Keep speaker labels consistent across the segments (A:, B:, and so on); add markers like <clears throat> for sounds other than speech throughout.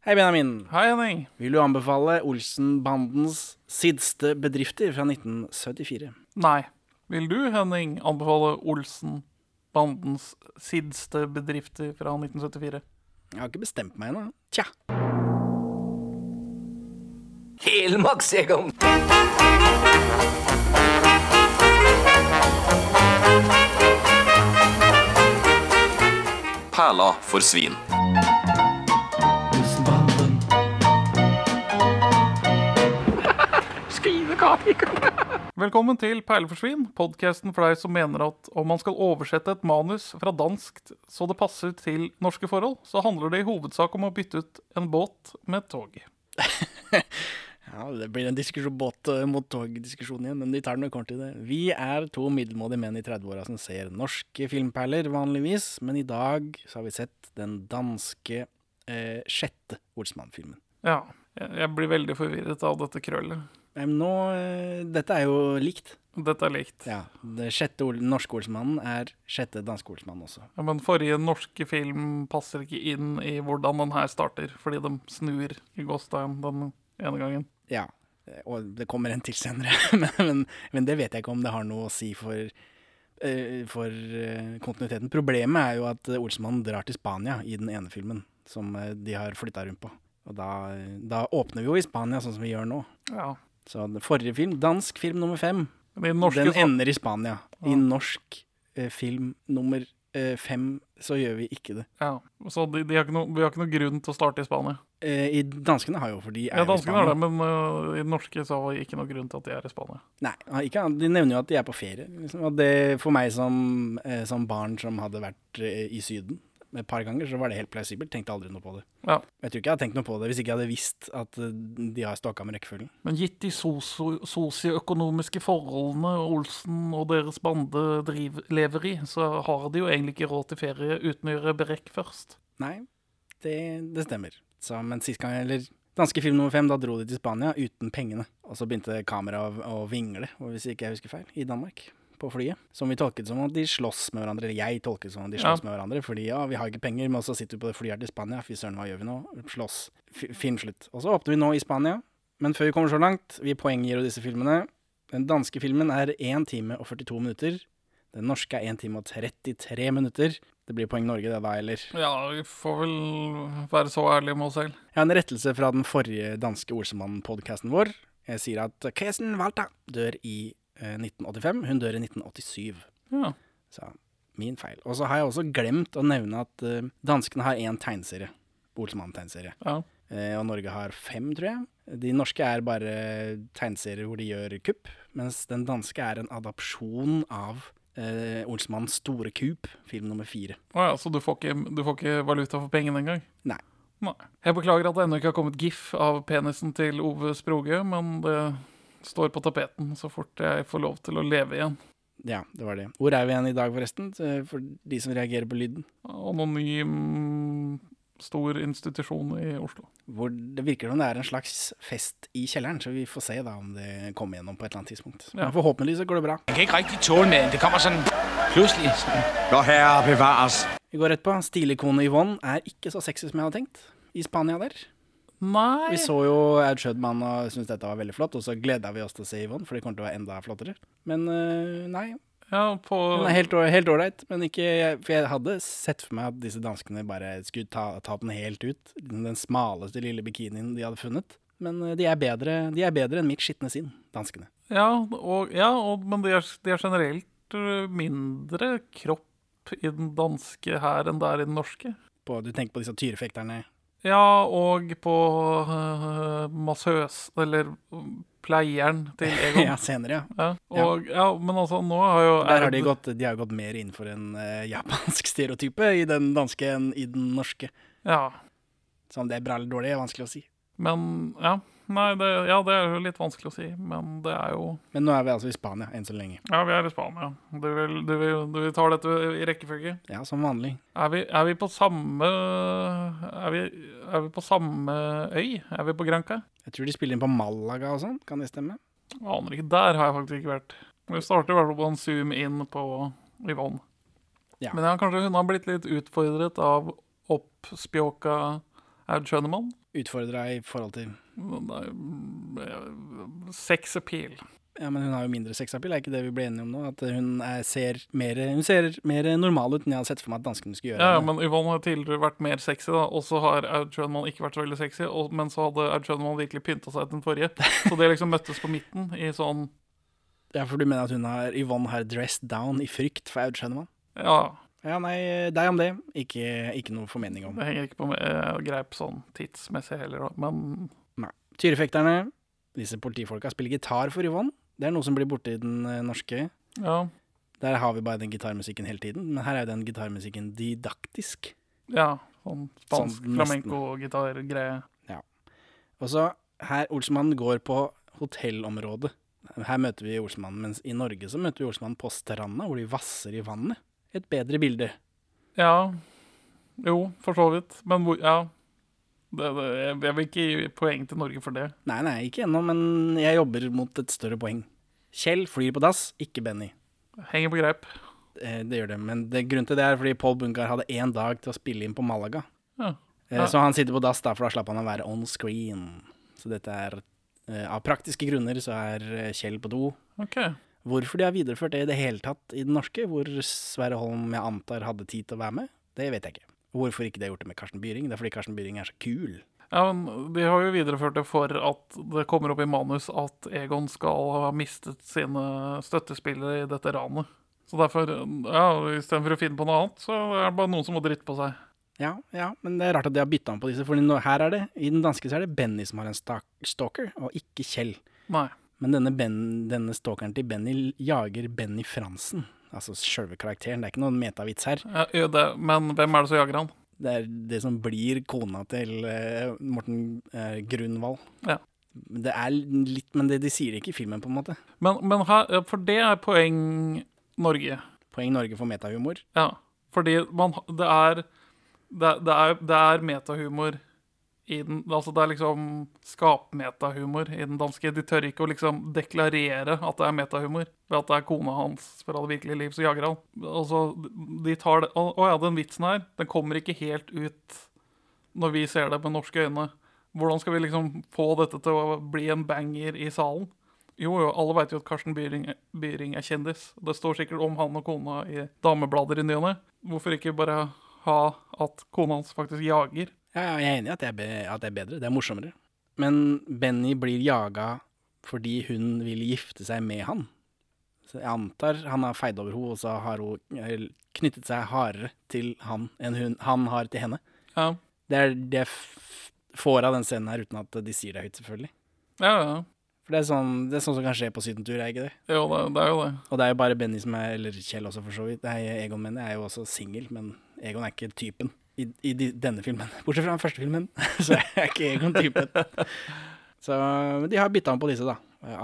A: Hei, Benjamin.
B: Hei, Henning.
A: Vil du anbefale Olsenbandens siste bedrifter fra 1974?
B: Nei. Vil du, Henning, anbefale Olsen-bandens sidste bedrifter fra 1974?
A: Jeg har ikke bestemt meg ennå. Tja.
C: Helmaks, jeg om.
D: Perla for svin.
B: Velkommen til Perleforsvin, podkasten for deg som mener at om man skal oversette et manus fra dansk så det passer til norske forhold, så handler det i hovedsak om å bytte ut en båt med et tog.
A: ja. Det blir en diskusjon, båt eh, mot tog-diskusjon igjen, men de tar den når det kommer til det. Vi er to middelmådige menn i 30-åra som ser norske filmperler vanligvis, men i dag så har vi sett den danske eh, sjette Olsmann-filmen.
B: Ja, jeg jeg blir veldig forvirret av dette krøllet.
A: Nei, men Nå, eh, Dette er jo likt.
B: Dette er likt.
A: Ja, Den sjette ol- norske Olsmannen er sjette danske Olsmannen også.
B: Ja, men forrige norske film passer ikke inn i hvordan den her starter, fordi de snur i Gåstein den ene gangen.
A: Ja, eh, og det kommer en til senere, <laughs> men, men, men det vet jeg ikke om det har noe å si for, eh, for eh, kontinuiteten. Problemet er jo at eh, Olsmannen drar til Spania i den ene filmen, som eh, de har flytta rundt på. Og da, eh, da åpner vi jo i Spania, sånn som vi gjør nå.
B: Ja.
A: Så den forrige film, dansk film nummer fem,
B: De norske
A: den ender i Spania. I norsk eh, film nummer eh, fem så gjør vi ikke det.
B: Ja, så de, de har ikke noe, Vi har ikke noe grunn til å starte i Spania.
A: Eh, I danskene har jo, for de er jo
B: Ja,
A: i
B: Danskene
A: Spania.
B: har det, men øh, i den norske så var det ikke noe grunn til at de er i Spania.
A: Nei, han- ikke han. De nevner jo at de er på ferie. Liksom. Og det, for meg som, eh, som barn som hadde vært eh, i Syden et par ganger, så var det helt plausibelt. Tenkte aldri noe på det.
B: Ja,
A: Jeg tror ikke jeg hadde tenkt noe på det hvis ikke jeg hadde visst at eh, de har stokka med rekkefølgen.
B: Men gitt de soso- sosioøkonomiske forholdene Olsen og deres bande driv, lever i, så har de jo egentlig ikke råd til ferie uten å gjøre brekk først.
A: Nei, det, det stemmer. Så, men sist gang, eller danske film nummer fem, da dro de til Spania uten pengene. Og så begynte kameraet å, å vingle, og hvis ikke jeg husker feil, i Danmark. På flyet. Som vi tolket som at de slåss med hverandre. Eller jeg tolket som at de
B: Ja.
A: slåss med hverandre. Fordi ja, vi har ikke penger, men så sitter vi på det flyet her til Spania. Fy søren, hva gjør vi nå? Slåss. F film slutt. Og så åpner vi nå i Spania. Men før vi kommer så langt, vi poenggir jo disse filmene. Den danske filmen er 1 time og 42 minutter. Den norske er 1 time og 33 minutter. Det blir poeng Norge, det da, eller?
B: Ja, vi får vel være så ærlige med oss selv.
A: Jeg har en rettelse fra den forrige danske Olsemann-podkasten vår. Jeg sier at Kresen Walta dør i eh, 1985. Hun dør i 1987.
B: Ja.
A: Så min feil. Og så har jeg også glemt å nevne at eh, danskene har én tegneserie. Olsemann-tegneserie.
B: ja.
A: Eh, og Norge har fem, tror jeg. De norske er bare tegneserier hvor de gjør kupp, mens den danske er en adapsjon av eh, Olsemanns store kup, film nummer fire.
B: Å ja, så du får ikke, du får ikke valuta for pengene engang?
A: Nei.
B: Nei. Jeg beklager at det ennå ikke har kommet gif av penisen til Ove Sproge, men det står på tapeten så fort jeg får lov til å leve igjen.
A: Ja, det var det. Hvor er vi igjen i dag, forresten? Eh, For de som reagerer på lyden.
B: Anonym mm, stor institusjon i Oslo.
A: hvor det virker som det er en slags fest i kjelleren, så vi får se da om det kommer gjennom på et eller annet tidspunkt. Men forhåpentligvis så går det bra.
E: kan ikke rigtig tåle maden. Det kommer sådan pludselig.
F: Nå herre bevares.
A: Vi går rett på. Stilikonet Yvonne er ikke så sexy som jeg hadde tenkt. I Spania der.
B: Nei!
A: Vi så jo Aud Schødman og syntes dette var veldig flott, og så gleda vi oss til å se Yvonne, for det kommer til å være enda flottere. Men øh, nei.
B: Ja, på,
A: Hun er helt å- helt ålreit, men ikke For jeg hadde sett for meg at disse danskene bare skulle ta, ta den helt ut. liksom Den smaleste lille bikinien de hadde funnet. Men øh, de er bedre, de er bedre enn mitt skitne sinn, danskene.
B: ja, og, ja og, men de er, de er generelt øh, mindre kropp i den danske her enn det er i den norske.
A: på, du tenker på disse tyrefekterne.
B: Ja, og på øh, massøs, eller øh, pleieren
A: <laughs>
B: til Egon.
A: Ja, senere, ja.
B: ja. Og, ja, men altså, nå har jo
A: Der har de, gått, de har gått mer innenfor en eh, japansk <laughs> stereotype i den danske enn i den norske.
B: Ja,
A: Så om det er bra eller dårlig, er vanskelig å si.
B: men ja. Nei, det, ja, det er jo litt vanskelig å si, men det er jo
A: Men nå er vi altså i Spania enn så lenge.
B: Ja, vi er i Spania. Du vil, du vil, du vil ta dette i rekkefølge.
A: Ja, som vanlig.
B: Er vi, er vi på samme er vi, er vi på samme øy? Er vi på Granca?
A: Jeg tror de spiller inn på Malaga og sånn, kan det stemme?
B: Aner ikke. Der har jeg faktisk ikke vært. Vi starter i hvert fall på en zoom inn på Yvonne.
A: Ja.
B: Men ja, kanskje hun har blitt litt utfordret av oppspjåka Aud Schønemann.
A: Utfordra i forhold til
B: Men det er jo- eh, Sex appeal.
A: Ja, men hun har jo mindre sexappeal, er ikke det vi ble enige om nå? At hun er, ser mer hun ser mer normal ut enn jeg hadde sett for meg at danskene skulle gjøre.
B: Ja, ja,
A: henne.
B: men Yvonne har tidligere vært mer sexy, da, og så har Aud Schønemann ikke vært så veldig sexy, og, men så hadde Aud Schønemann virkelig pynta seg til den forrige. Så det liksom møttes på midten i sånn
A: ja, for du mener at hun har, Yvonne har dressed down i frykt for Aud Schønemann?
B: Ja,
A: Ja, nei, deg om det. Ikke, ikke noe formening om.
B: det henger ikke på med, eh, greip sånn tidsmessig heller, da, men
A: Nei. Tyrefekterne, disse politifolka, spiller gitar for Yvonne. Det er noe som blir borte i den eh, norske.
B: ja.
A: Der har vi bare den gitarmusikken hele tiden, men her er jo den gitarmusikken didaktisk.
B: ja sånn spansk
A: Sånn nesten.
B: flamenco-gitar-greie.
A: Og så her Olsmannen går på hotellområdet. Her møter vi Olsmannen, mens i Norge så møter vi Olsmannen på stranda, hvor de vasser i vannet. Et bedre bilde.
B: Ja. Jo, for så vidt. Men hvor Ja. Det, det, jeg, jeg vil ikke gi poeng til Norge for det.
A: Nei, nei, ikke ennå, men jeg jobber mot et større poeng. Kjell flyr på dass, ikke Benny.
B: Henger på greip.
A: Eh, det gjør det, men det, grunnen til det er fordi Paul Bungar hadde én dag til å spille inn på Malaga.
B: Ja.
A: Eh, Så han sitter på dass da, for da slapp han å være on screen. Så dette er eh, Av praktiske grunner så er eh, Kjell på do.
B: OK.
A: Hvorfor de har videreført det i det hele tatt i den norske, hvor Sverre Holm jeg antar hadde tid til å være med, det vet jeg ikke. Hvorfor ikke de har gjort det med Karsten Byring? Det er fordi Karsten Byring er så kul.
B: Ja, men De har jo videreført det for at det kommer opp i manus at Egon skal ha mistet sine støttespillere i dette ranet. Så derfor, ja, istedenfor å finne på noe annet, så er det bare noen som må dritte på seg.
A: Ja, ja, men det er rart at de har bytta om på disse, for nå, her er det, i den danske så er det Benny som har en stak- stalker, og ikke Kjell.
B: Nei.
A: Men denne, ben, denne stalkeren til Benny jager Benny Fransen. Altså sjølve karakteren, det er ikke noen metavits her.
B: Ja, jo, det, men hvem er det som jager han?
A: Det er det som blir kona til eh, Morten eh, Grunwald.
B: Ja.
A: Det er litt, men det de sier det ikke i filmen, på en måte.
B: Men, men her, for det er poeng Norge.
A: Poeng Norge for metahumor.
B: Ja, fordi man, det, er, det, det er Det er metahumor i den Altså, det er liksom skapmetahumor i den danske. De tør ikke å liksom deklarere at det er metahumor ved at det er kona hans fra det virkelige liv som jager han. Altså, de tar det Å å ja, den vitsen her, den kommer ikke helt ut når vi ser det med norske øyne. Hvordan skal vi liksom få dette til å bli en banger i salen? Jo, jo, alle veit jo at Karsten Byring, Byring er kjendis. Det står sikkert om han og kona i dameblader i ny og ne. Hvorfor ikke bare ha at kona hans faktisk jager?
A: Ja, ja, jeg er enig i at det er, be at det er bedre. Det er morsommere. Men Benny blir jaga fordi hun vil gifte seg med han. Så jeg antar han har feid over henne, og så har hun eh, knyttet seg hardere til han enn hun, han har til henne.
B: Ja,
A: Det er det jeg f- får av den scenen her, uten at de sier det høyt, selvfølgelig.
B: ja, ja.
A: For det er sånn, det er sånn som kan skje på sydentur, er ikke det?
B: Jo, det, det er jo det.
A: Og det er jo bare Benny som er, eller Kjell også for så vidt, Nei, Egon mener jeg er jo også singel, men Egon er ikke typen i, i de, denne filmen. <laughs> Bortsett fra den første filmen, så er ikke Egon
B: <laughs>
A: typen. Så men de har bytta om på disse, da.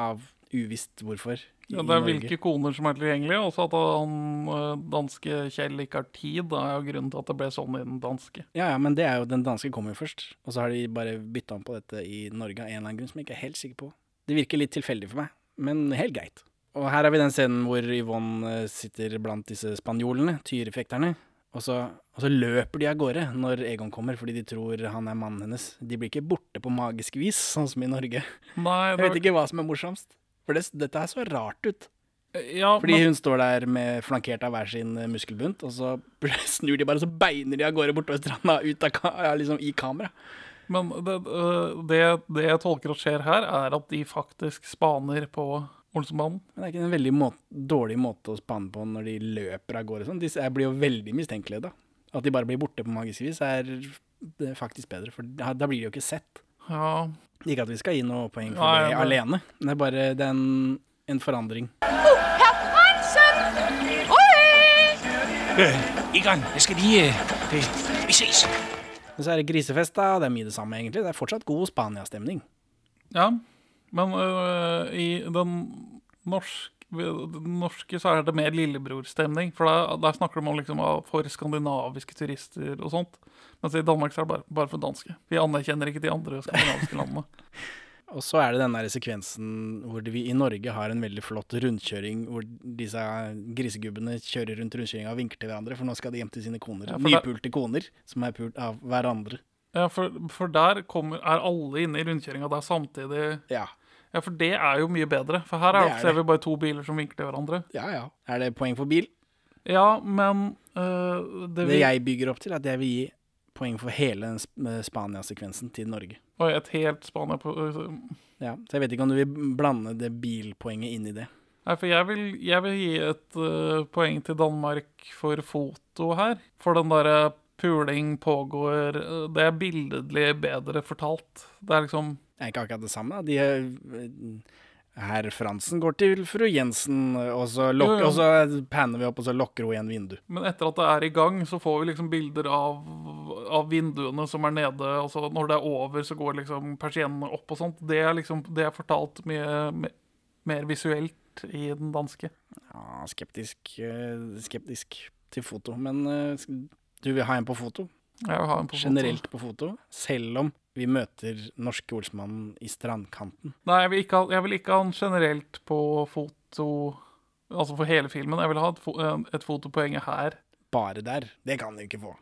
A: Av uvisst hvorfor. i
B: Ja, det er
A: Norge.
B: hvilke koner som er tilgjengelige. Også at han eh, danske Kjell ikke har tid, da er jo grunnen til at det ble sånn i den danske.
A: Ja, ja, men det er jo den danske kom jo først. Og så har de bare bytta om på dette i Norge av en eller annen grunn som jeg ikke er helt sikker på. Det virker litt tilfeldig for meg, men helt greit. Og her har vi den scenen hvor Yvonne eh, sitter blant disse spanjolene, tyrefekterne. Og så, og så løper de av gårde når Egon kommer, fordi de tror han er mannen hennes. De blir ikke borte på magisk vis, sånn som i Norge.
B: Nei,
A: Jeg vet ikke hva som er morsomst. For det, dette her så rart ut.
B: ja,
A: Fordi
B: men,
A: hun står der med flankert av hver sin eh, muskelbunt, og så <laughs> snur de bare, og så beiner de av gårde bortover stranda ut av ka ja, liksom i kamera.
B: men det, eh, det, det jeg tolker at skjer her, er at de faktisk spaner på Olsenbanen.
A: Men det er ikke en veldig må dårlig måte å spanne på når de løper av gårde. og Sånn. De s- jeg blir jo veldig mistenkelige da. At de bare blir borte på magisk vis, er det er faktisk bedre, for da, da blir de jo ikke sett.
B: Ja,
A: Ikke at vi skal gi noe poeng for
B: Nei,
A: det
B: men-
A: alene, men det er bare det er en, en forandring.
D: Herr Fransen! Ui!
E: Øh, Egon, jeg skal lige... øh, Det, vi ses.
A: Men så er det grisefest, da. Det er mye det samme, egentlig. Det er fortsatt god Spania-stemning.
B: Ja, men øh, i den norske den norske så er det mer lillebrorstemning, for der, der snakker de om liksom ah, for skandinaviske turister og sånt. Mens i Danmark så er det bare, bare for danske. Vi anerkjenner ikke de andre skandinaviske
A: <laughs>
B: landene.
A: Og så er det den der sekvensen hvor vi i Norge har en veldig flott rundkjøring, hvor disse grisegubbene kjører rundt rundkjøringa og vinker til hverandre, for nå skal de hjem til sine koner.
B: Ja, for det-
A: Nypulte koner som er pult av hverandre.
B: Ja, for, for der kommer, er alle inne i rundkjøringa der samtidig.
A: Ja.
B: Ja, for det er jo mye bedre. For her
A: Det
B: er,
A: er
B: ser
A: det.
B: vi bare to biler som vinker til hverandre.
A: ja, ja. Er det poeng for bil?
B: Ja, men øh, det
A: Det
B: vil,
A: jeg bygger opp til, er at jeg vil gi poeng for hele den sp- eh, Spania-sekvensen til Norge.
B: Oi, et helt Spania på øh,
A: Ja, Så jeg vet ikke om du vil blande det bilpoenget inn i det.
B: Nei, for jeg vil, jeg vil gi et øh, poeng til Danmark for foto her. For den derre puling pågår øh, Det er billedlig bedre fortalt. Det er liksom
A: Det er ikke akkurat det samme. da. De, eh, herr Fransen går til fru Jensen, og så, lok
B: Jo, jo.
A: og så panner vi opp, og så lokker hun igjen vindu.
B: Men etter at det er i gang, så får vi liksom bilder av, av vinduene som er nede. Altså når det er over, så går liksom persiennene opp og sånt. Det er liksom det er fortalt mye me- mer visuelt i den danske.
A: Ja, skeptisk, eh, skeptisk til foto, men eh, sk- du vil ha en på foto?
B: Jeg vil ha en på foto.
A: Generelt på foto, selv om vi møter norske olsmannen i strandkanten.
B: Nei, jeg vil ikke ha, jeg vil ikke ha en generelt på foto Altså for hele filmen. Jeg vil ha et, fo en- et fotopoeng her.
A: Bare der. Det kan du ikke få.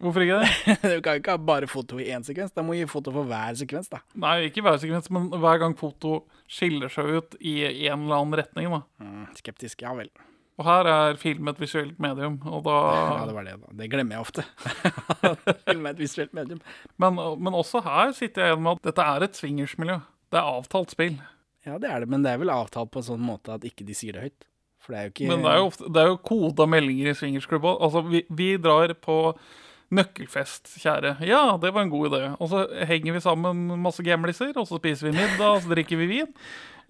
A: <laughs>
B: Hvorfor ikke det?
A: Du kan jo ikke ha bare foto i én sekvens. Da må du gi foto for hver sekvens, da.
B: <laughs> Nei, ikke hver sekvens, men hver gang foto skiller seg ut i en eller annen retning. da.
A: Mm, skeptisk. Ja vel.
B: Og her er film et visuelt medium, og da
A: Ja, det var det, da. Det glemmer jeg ofte. <laughs> Film er et visuelt medium.
B: Men, men også her sitter jeg igjen med at dette er et swingersmiljø. Det er avtalt spill.
A: Ja, det er det, men det er vel avtalt på en sånn måte at ikke de sier det høyt. For det er jo ikke
B: Men det er jo, ofte, det er jo koda meldinger i swingersklubba. Altså, vi, vi drar på nøkkelfest, kjære. Ja, det var en god idé. Og så henger vi sammen masse gamliser, og så spiser vi middag, og så drikker vi vin.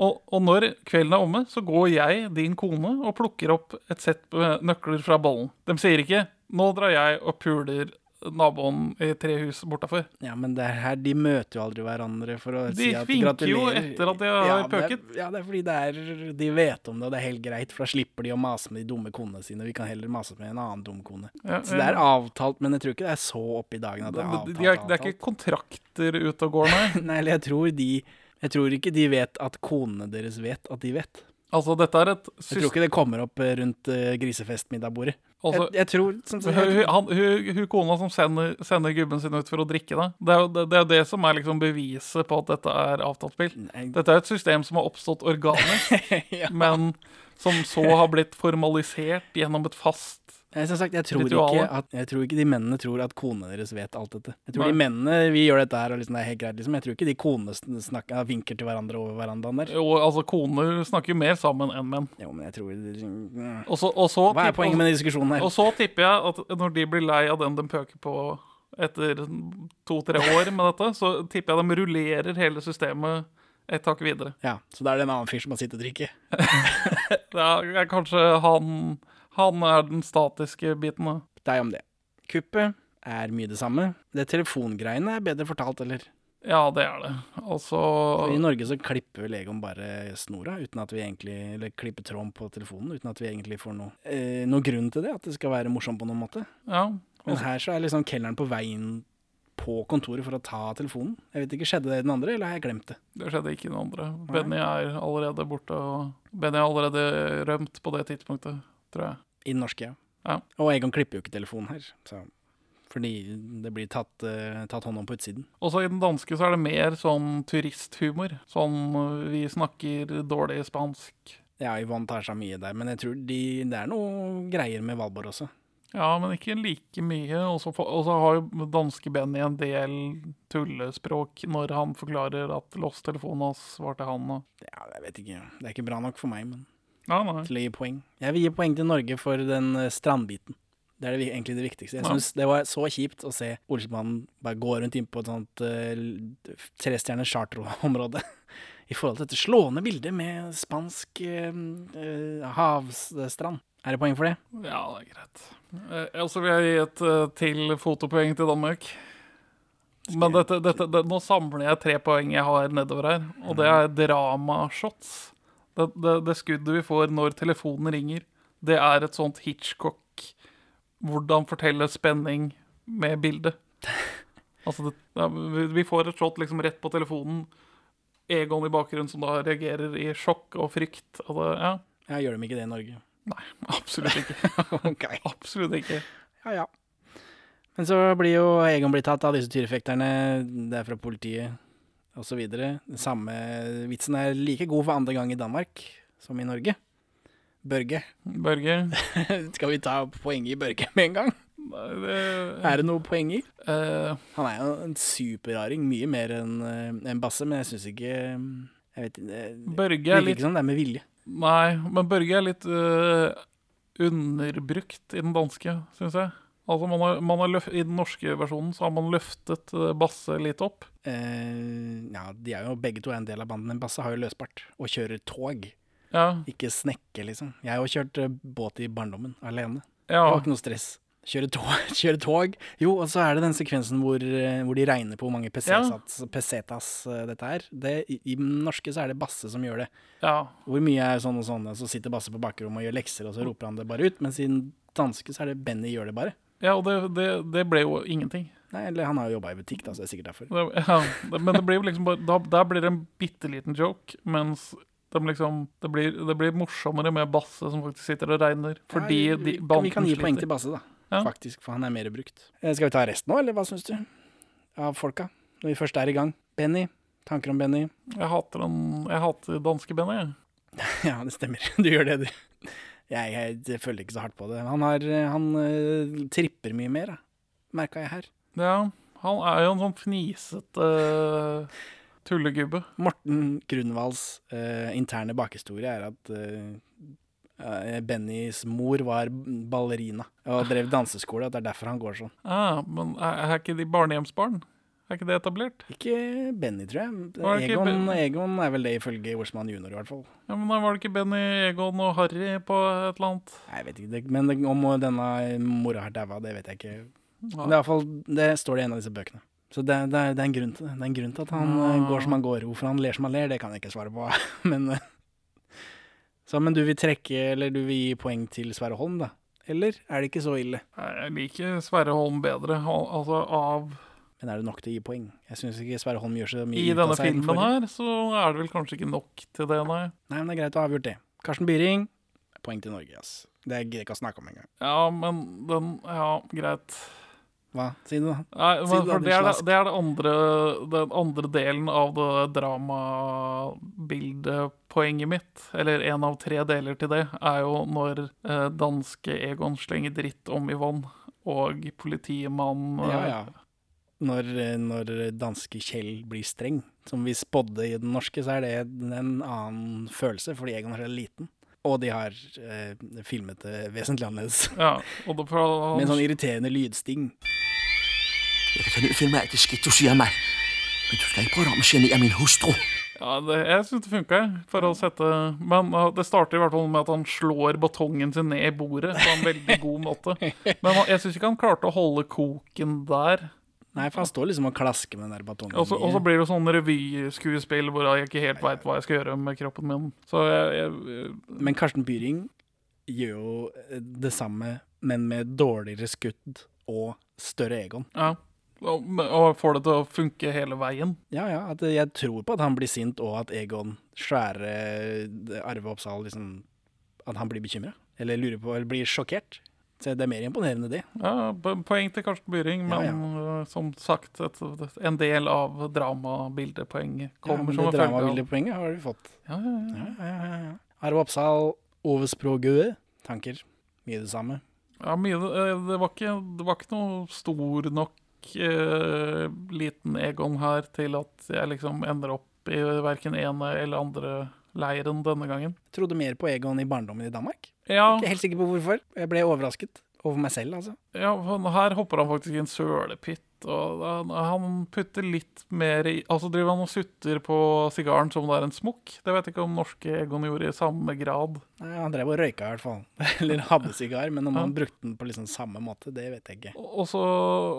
B: Og, og når kvelden er omme, så går jeg, din kone, og plukker opp et sett med nøkler fra ballen. De sier ikke 'nå drar jeg og puler naboen i tre hus bortafor'.
A: Ja, men det er her de møter jo aldri hverandre for å
B: De
A: si at gratulerer.
B: vinker jo etter at de har
A: Ja, det er-
B: pøket.
A: Ja, det er fordi det er, de vet om det, og det er helt greit, for da slipper de å mase med de dumme konene sine. Vi kan heller mase med en annen dum kone.
B: Ja,
A: Så det er avtalt, men jeg tror ikke det er så opp i dagen at det er
B: Men
A: avtalt.
B: Det, de har, det er
A: avtalt.
B: ikke kontrakter ute og går, nei.
A: <laughs> Nei, eller jeg tror de Jeg tror ikke de vet at konene deres vet at de vet.
B: Altså, dette er et
A: Jeg tror ikke det kommer opp eh, rundt eh, grisefestmiddagbordet.
B: altså,
A: jeg, jeg tror sånn som
B: hun,
A: sagt,
B: hun- han, hun, hun kona som sender, sender gubben sin ut for å drikke, da. Det er jo det, det, er jo det som er liksom beviset på at dette er avtalt spill.
A: Nei. <laughs>
B: Dette er et system som har oppstått organisk,
A: ja.
B: men som så har blitt formalisert gjennom et fast
A: Nei, Eh, Som sagt, jeg tror, ikke
B: Ritualet.
A: at, jeg tror ikke de mennene tror at konene deres vet alt dette. Jeg tror
B: Nei.
A: de mennene vi gjør dette her, og liksom, det er helt greit, liksom. Jeg tror ikke de konene sn- snakker, vinker til hverandre over verandaen der.
B: Og altså, koner snakker jo mer sammen enn menn.
A: Jo, men jeg tror de-
B: Og så, og så
A: Hva er
B: tipp-
A: poenget med denne diskusjonen her?
B: Og så tipper jeg at når de blir lei av den de pøker på etter to-tre år med dette, så tipper jeg de rullerer hele systemet et tak videre.
A: Ja, Så da er det en annen fyr som har sittet og drukket.
B: Det er, er kanskje han Han er den statiske biten, da.
A: Deg om det. Kuppet er mye det samme. Det telefongreiene er bedre fortalt, eller?
B: Ja, det er det. Altså
A: I Norge så klipper vel Egon bare snora, uten at vi egentlig, eller klipper tråden på telefonen, uten at vi egentlig får noe, eh, noe grunn til det, at det skal være morsomt på noen måte.
B: Ja.
A: Men her så er liksom kelneren på veien på kontoret for å ta telefonen. Jeg vet ikke, Skjedde det i den andre, eller har jeg glemt det?
B: Det skjedde ikke i den andre. Benny er allerede borte, og Benny er allerede rømt på det tidspunktet, tror jeg.
A: I den norske, ja.
B: Ja.
A: Og Egon klipper jo ikke telefonen her. Så. Fordi det blir tatt, eh, tatt hånd om på utsiden.
B: Også i den danske så er det mer sånn turisthumor. Sånn øh, vi snakker dårlig spansk.
A: Ja, Yvonne tar seg mye der, men jeg tror de, det er noe greier med Valborg også.
B: Ja, men ikke like mye. Og så få- og så har jo danske Benny en del tullespråk når han forklarer at losstelefonen hans var til han. Og...
A: Ja, jeg vet ikke. Det er ikke bra nok for meg, men
B: Ja, nei.
A: til å gi poeng. Jeg vil gi poeng til Norge for den eh, strandbiten. Det er det, vi- egentlig det viktigste. Jeg
B: Ja.
A: synes Det var så kjipt å se Olsmannen bare gå rundt inn på et sånt eh, l- trestjerners charterområde <laughs> i forhold til dette slående bildet med spansk eh, eh, havstrand. Er det poeng for det?
B: Ja, det er greit. Eh, og så vil jeg gi et eh, til fotopoeng til Danmark. Men dette, dette, det, nå samler jeg tre poeng jeg har nedover her, og det er dramashots. Det, det, det skuddet vi får når telefonen ringer, det er et sånt Hitchcock Hvordan fortelle spenning med bildet. Altså, det, det, er- vi- vi får et shot liksom rett på telefonen. Egon i bakgrunnen som da reagerer i sjokk og frykt. Og det, ja,
A: Ja, gjør de ikke det i Norge?
B: Nei, absolutt ikke.
A: ok.
B: Absolutt ikke.
A: Ja, ja. Men så blir jo Egon blitt tatt av disse tyrefekterne, det er fra politiet osv. Den samme vitsen er like god for andre gang i Danmark som i Norge. Børge. <laughs>
B: Børge.
A: Skal vi ta poenget i Børge med en gang?
B: Nei, det,
A: Er det noe poeng i?
B: eh,
A: Han er jo en superraring, mye mer enn eh, en Basse, men jeg syns ikke eh, Jeg vet ikke Det
B: Børge er
A: virker
B: litt
A: ikke som det er med vilje.
B: Nei, men Børge er litt eh, underbrukt i den danske, syns jeg. Altså, man har, man har løf I den norske versjonen så har man løftet eh, Basse litt opp.
A: Eh, ja, de er jo begge to er en del av banden. En Basse har jo løsbart og kjører tog,
B: Ja,
A: ikke snekke, liksom. Jeg har jo kjørt eh, båt i barndommen alene.
B: ja.
A: Det var ikke noe stress. Kjøre tog, <laughs> kjøre tog. Jo, og så er det den sekvensen hvor, eh, hvor de regner på hvor mange pesetas, pesetas eh, dette er. Det, i, I den norske så er det Basse som gjør det.
B: ja.
A: Hvor mye er sånn og sånn, og så sitter Basse på bakrommet og gjør lekser, og så roper han det bare ut. Mens i den danske så er det Benny gjør det bare.
B: ja og det, det, det ble jo ingenting.
A: Nei, eller han har jo jobba i butikk, da, så det er sikkert derfor.
B: Det, <laughs> ja, det, men det blir jo liksom bare da, Der blir det en bitte liten joke, mens de liksom, det, blir, det blir morsommere med Basse som faktisk sitter og regner. Fordi
A: Ja,
B: de,
A: vi,
B: banden
A: vi kan gi poeng
B: sliter.
A: til Basse, da.
B: Ja.
A: Faktisk, for han er mer brukt. Eh, Skal vi ta resten nå, eller hva syns du? Av folka, når vi først er i gang. Benny. Tanker om Benny? <laughs>
B: Jeg hater, den, jeg hater danskebenet, jeg.
A: Ja, det stemmer. <laughs> Du gjør det, du. Jeg, jeg, jeg føler ikke så hardt på det. Han, har, eh, han eh, tripper mye mer, merka jeg her.
B: Ja, han er jo en sånn fnisete eh, tullegubbe.
A: Morten Grunwalds eh, interne bakhistorie er at eh, eh, Bennys mor var ballerina og drev danseskole, at det er derfor han går sånn.
B: Ah, men er, er ikke de barnehjemsbarn? Er ikke det etablert?
A: Ikke Benny, tror
B: Var
A: jeg.
B: det ikke
A: Egon,
B: Ben-
A: Egon er vel det ifølge Osman junior, i hvert fall.
B: Ja, men da Var det ikke Benny, Egon og Harry på et eller annet?
A: Nei, jeg vet ikke, det- men det- om denne mora har daua, det vet jeg ikke.
B: Ja.
A: Men det, er i hvert fall, det står det i en av disse bøkene. Så det, det, er, det er en grunn til det. Det er en grunn til at han eh,
B: Ah.
A: går som han går. Hvorfor han ler som han ler, det kan jeg ikke svare på. <laughs> men, eh, så, men du vil trekke, eller du vil gi poeng til Sverre Holm, da? Eller er det ikke så ille?
B: Nei, Jeg liker Sverre Holm bedre, al altså av
A: Men er det nok til å gi poeng? Jeg syns ikke Sverre Holm gjør så mye
B: I
A: ut av
B: denne
A: seg i den
B: filmen
A: forrige.
B: her, så er det vel kanskje ikke nok til det, nei.
A: Nei, men det er greit å ha avgjort det. Karsten Byring, poeng til Norge, ass. Det gidder jeg ikke å snakke om engang.
B: Ja, men den Ja, greit.
A: Hva sier du, da?
B: Nei,
A: Siden
B: men,
A: du
B: for
A: hadde
B: det, er det,
A: slask.
B: det er det andre den andre delen av det dramabildepoenget mitt, eller en av tre deler til det, er jo når eh, danske Egon slenger dritt om Yvonne og politimannen eh,
A: Ja, ja. Når, eh, når danske Kjell blir streng, som vi spådde i den norske, så er det en en annen følelse, fordi Egon er så liten. Og de har eh, filmet det vesentlig annerledes.
B: ja, og det, for
A: Med en
B: han,
A: sånn irriterende lydsting.
G: Jeg kan ta ned og finde mig alt det skidt, du siger mig. Men du skal ikke prøve om at genere min hustru.
B: ja, det, Jeg syns det funka, jeg, for å sette Men eh, det starter i hvert fall med at han slår batongen sin ned i bordet på en veldig god måte.
A: <laughs>
B: Men han, jeg syns ikke han klarte å holde koken der.
A: Nei, for han står liksom og klasker med den der batongen.
B: Og så, og så
A: i-
B: blir det sånn revyskuespill hvor jeg ikke helt veit hva jeg skal gjøre med kroppen min. Så jeg, jeg,
A: Men Karsten Byring gjør jo eh, det samme, men med dårligere skudd og større Egon.
B: ja. Og, og får det til å funke hele veien.
A: Ja, ja. At eh, jeg tror på at han blir sint, og at Egon svære eh, Arve Oppsal liksom At han blir bekymra. Eller lurer på, eller blir sjokkert. Så det er mer imponerende, det.
B: Ja, po- poeng til Karsten Byring, men
A: Ja,
B: øh, som sagt, et, en del av dramabildepoenget
A: Ja, men
B: kommer
A: det
B: som en følge av
A: dramabildepoenget har du fått.
B: ja, ja, ja.
A: Ja, ja, ja, ja. Arve Oppsal, Ove Språ Gue. Tanker. Mye det samme.
B: ja, mye øh, det var, ikke, det var ikke noe stor nok øh, liten Egon her til at jeg liksom ender opp i verken ene eller andre leiren denne gangen.
A: Trodde mer på Egon i barndommen i Danmark.
B: Ja,
A: Ikke helt sikker på hvorfor. Jeg ble overrasket. Over meg selv, altså.
B: Ja, for her hopper han faktisk i en sølepytt. Og han- han putter litt mer i Altså driver han og sutter på sigaren som om det er en smokk. Det vet jeg ikke om norske Egon gjorde i samme grad.
A: Nei, han drev og røyka i hvert fall. <laughs> Eller hadde sigar, men om
B: Ja.
A: han brukte den på liksom samme måte, det vet jeg ikke.
B: Og og så,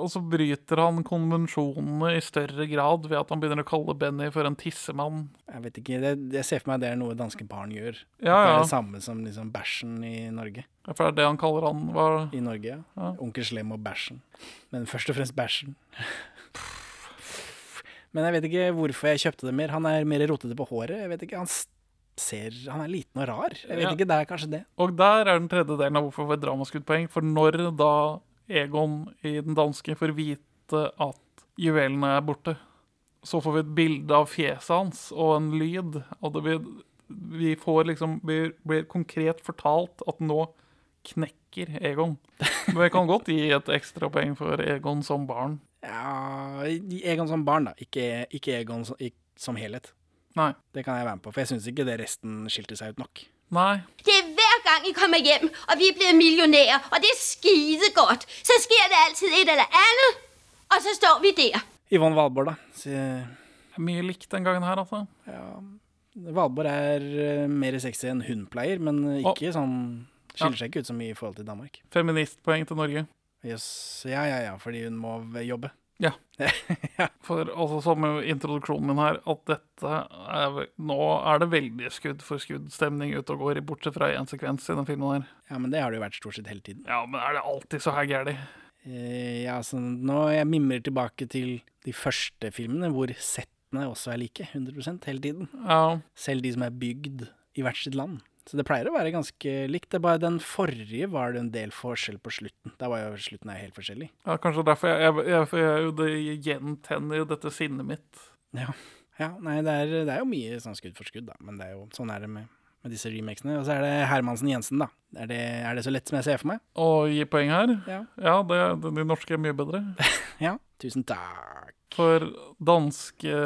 B: og så bryter han konvensjonene i større grad ved at han begynner å kalle Benny for en tissemann.
A: Jeg vet ikke, det, jeg ser for meg det er noe danske barn gjør.
B: Ja,
A: At Det
B: ja.
A: er det samme som liksom bæsjen i Norge.
B: For det er det han kaller han. Hva?
A: I Norge, ja.
B: Ja.
A: Onkel Slem og bæsjen. Men først og fremst bæsjen. Men jeg vet ikke hvorfor jeg kjøpte det mer. Han er mer rotete på håret. Jeg vet ikke, Han s- ser Han er liten og rar. Jeg vet
B: Ja.
A: ikke, det er kanskje det.
B: Og der er den tredje delen av hvorfor får et dramaskuddpoeng. For når da Egon i den danske får vite at juvelene er borte. Så får vi et bilde av fjeset hans og en lyd, og det blir, vi får liksom blir, blir konkret fortalt at nå knekker Egon. Men jeg kan godt gi et ekstrapoeng for Egon som barn.
A: Ja, Egon som barn, da. Ikke, ikke Egon som, ikk- som helhet.
B: Nei.
A: Det kan jeg være med på, for jeg syns ikke det resten skilte seg ut nok.
B: Nei.
H: Det er hver gang I kommer hjem, og vi er blevet millionærer, og det er skide godt. Så sker det altid et eller andet, og så står vi der.
A: Yvonne Valborg, da. Så-
B: Mye likt den gangen her, altså.
A: Valborg er eh, mer sexy enn hun pleier, men ikke sånn Skiller seg ikke ut så mye i forhold til Danmark.
B: Feministpoeng til Norge.
A: Yes. Ja, ja, ja, fordi hun må v- jobbe. <laughs>
B: Ja. For altså, som i introduksjonen min her, at dette er, vel- Nå er det veldig skudd for skudd-stemning ute og går, bortsett fra én sekvens i den filmen her.
A: Ja, men det har det jo vært stort sett hele tiden.
B: Ja, men er det alltid så her gæli?
A: Eh, ja, så nå jeg mimrer tilbake til de første filmene, hvor settene også er like, 100 hele tiden.
B: Ja,
A: Selv de som er bygd i hvert sitt land. Så det pleier å være ganske likt. Det er bare den forrige var det en del forskjell på slutten. Der var jo slutten er jo helt forskjellig.
B: ja, kanskje derfor jeg, jeg, jeg, for jeg Det gjentenner jo dette sinnet mitt.
A: Ja. ja nei, det er, det er jo mye sånn skudd for skudd, da. Men det er jo, sånn er det med, med disse remakesene. Og så er det Hermansen Jensen, da. Er det, er det så lett som jeg ser for meg?
B: Å gi poeng her?
A: Ja.
B: ja det, det, de norske er mye bedre.
A: Ja. Tusen takk.
B: For danske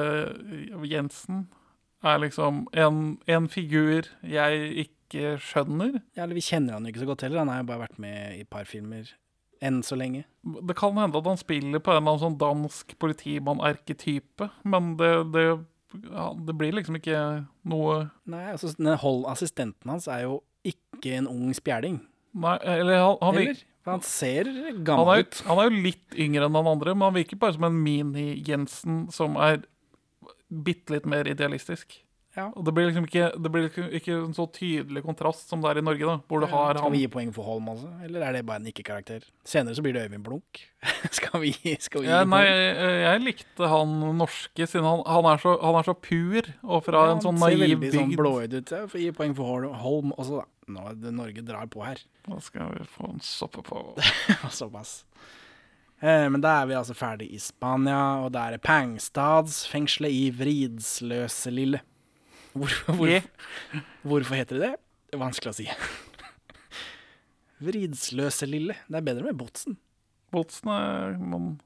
B: Jensen er liksom en, en figur jeg ikke skjønner.
A: Ja, eller vi kjenner han jo ikke så godt heller. Han har jo bare vært med i et par filmer enn så lenge.
B: Det kan hende at han spiller på en eller annen sånn dansk politimann-arketype, men det, det, ja, det blir liksom ikke noe
A: Nei, altså, den hold assistenten hans er jo ikke en ung spjæling.
B: Nei, eller han, han, vir-
A: Eller? For Han ser
B: han, er,
A: gammel ut.
B: jo- han er jo litt yngre enn han andre, men han virker bare som en mini-Jensen som er bitte litt mer idealistisk.
A: Ja.
B: Og det blir liksom ikke, det blir liksom ikke en så tydelig kontrast som det er i Norge, da, hvor du har
A: Skal
B: han
A: vi gi poeng for Holm, altså? Eller er det bare en ikke-karakter? Senere så blir det Øyvind Blunk. <laughs> skal vi, skal vi gi
B: Ja,
A: poeng?
B: nei, jeg, jeg likte han norske, siden han, han, er, så, han er så pur og fra
A: Ja,
B: en sånn
A: han ser
B: naiv
A: veldig
B: bygd.
A: Sånn blåøyd ut. Jeg får gi poeng for Hol- Holm også, da. Nå er det Norge drar på her.
B: Da skal vi få en soppe på.
A: <laughs> Såpass. Eh, men da er vi altså ferdig i Spania, og da er det Pangstadsfengselet i Vridsløselille. Hvor, hvor,
B: Je.
A: Hvorfor heter det det? Det er Vanskelig å si. <laughs> Vridsløselille. Det er bedre med Botsen.
B: Botsen er man,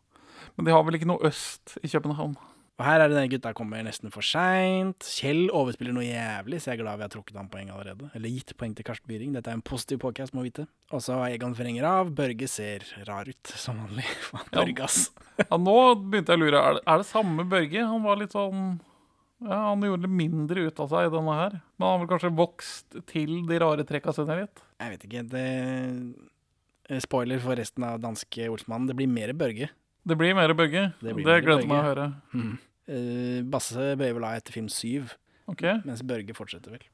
B: Men de har vel ikke noe øst i København?
A: Og her er det denne gutta kommer nesten for seint. Kjell overspiller noe jævlig, så jeg er glad vi har trukket han poeng allerede. Eller gitt poeng til Karsten Byring. Dette er en positiv podcast, må vite. Og så Egon vrenger av. Børge ser rar ut, som vanlig. <laughs> Faen, Børge, ass.
B: Ja, nå begynte jeg å lure. Er det, er det samme Børge? Han var litt sånn ja, Han gjorde litt mindre ut av seg i denne her. Men han har vel kanskje vokst til de rare trekka sine litt?
A: Jeg vet ikke. Det eh, Spoiler for resten av danske ordsmannen. Det blir mer Børge.
B: Det blir mer Børge.
A: Det
B: Det,
A: blir mer
B: gleder jeg meg å
A: Børge.
B: høre.
A: Eh, Basse bøyer vel av etter film syv,
B: Ok,
A: mens Børge fortsetter vel.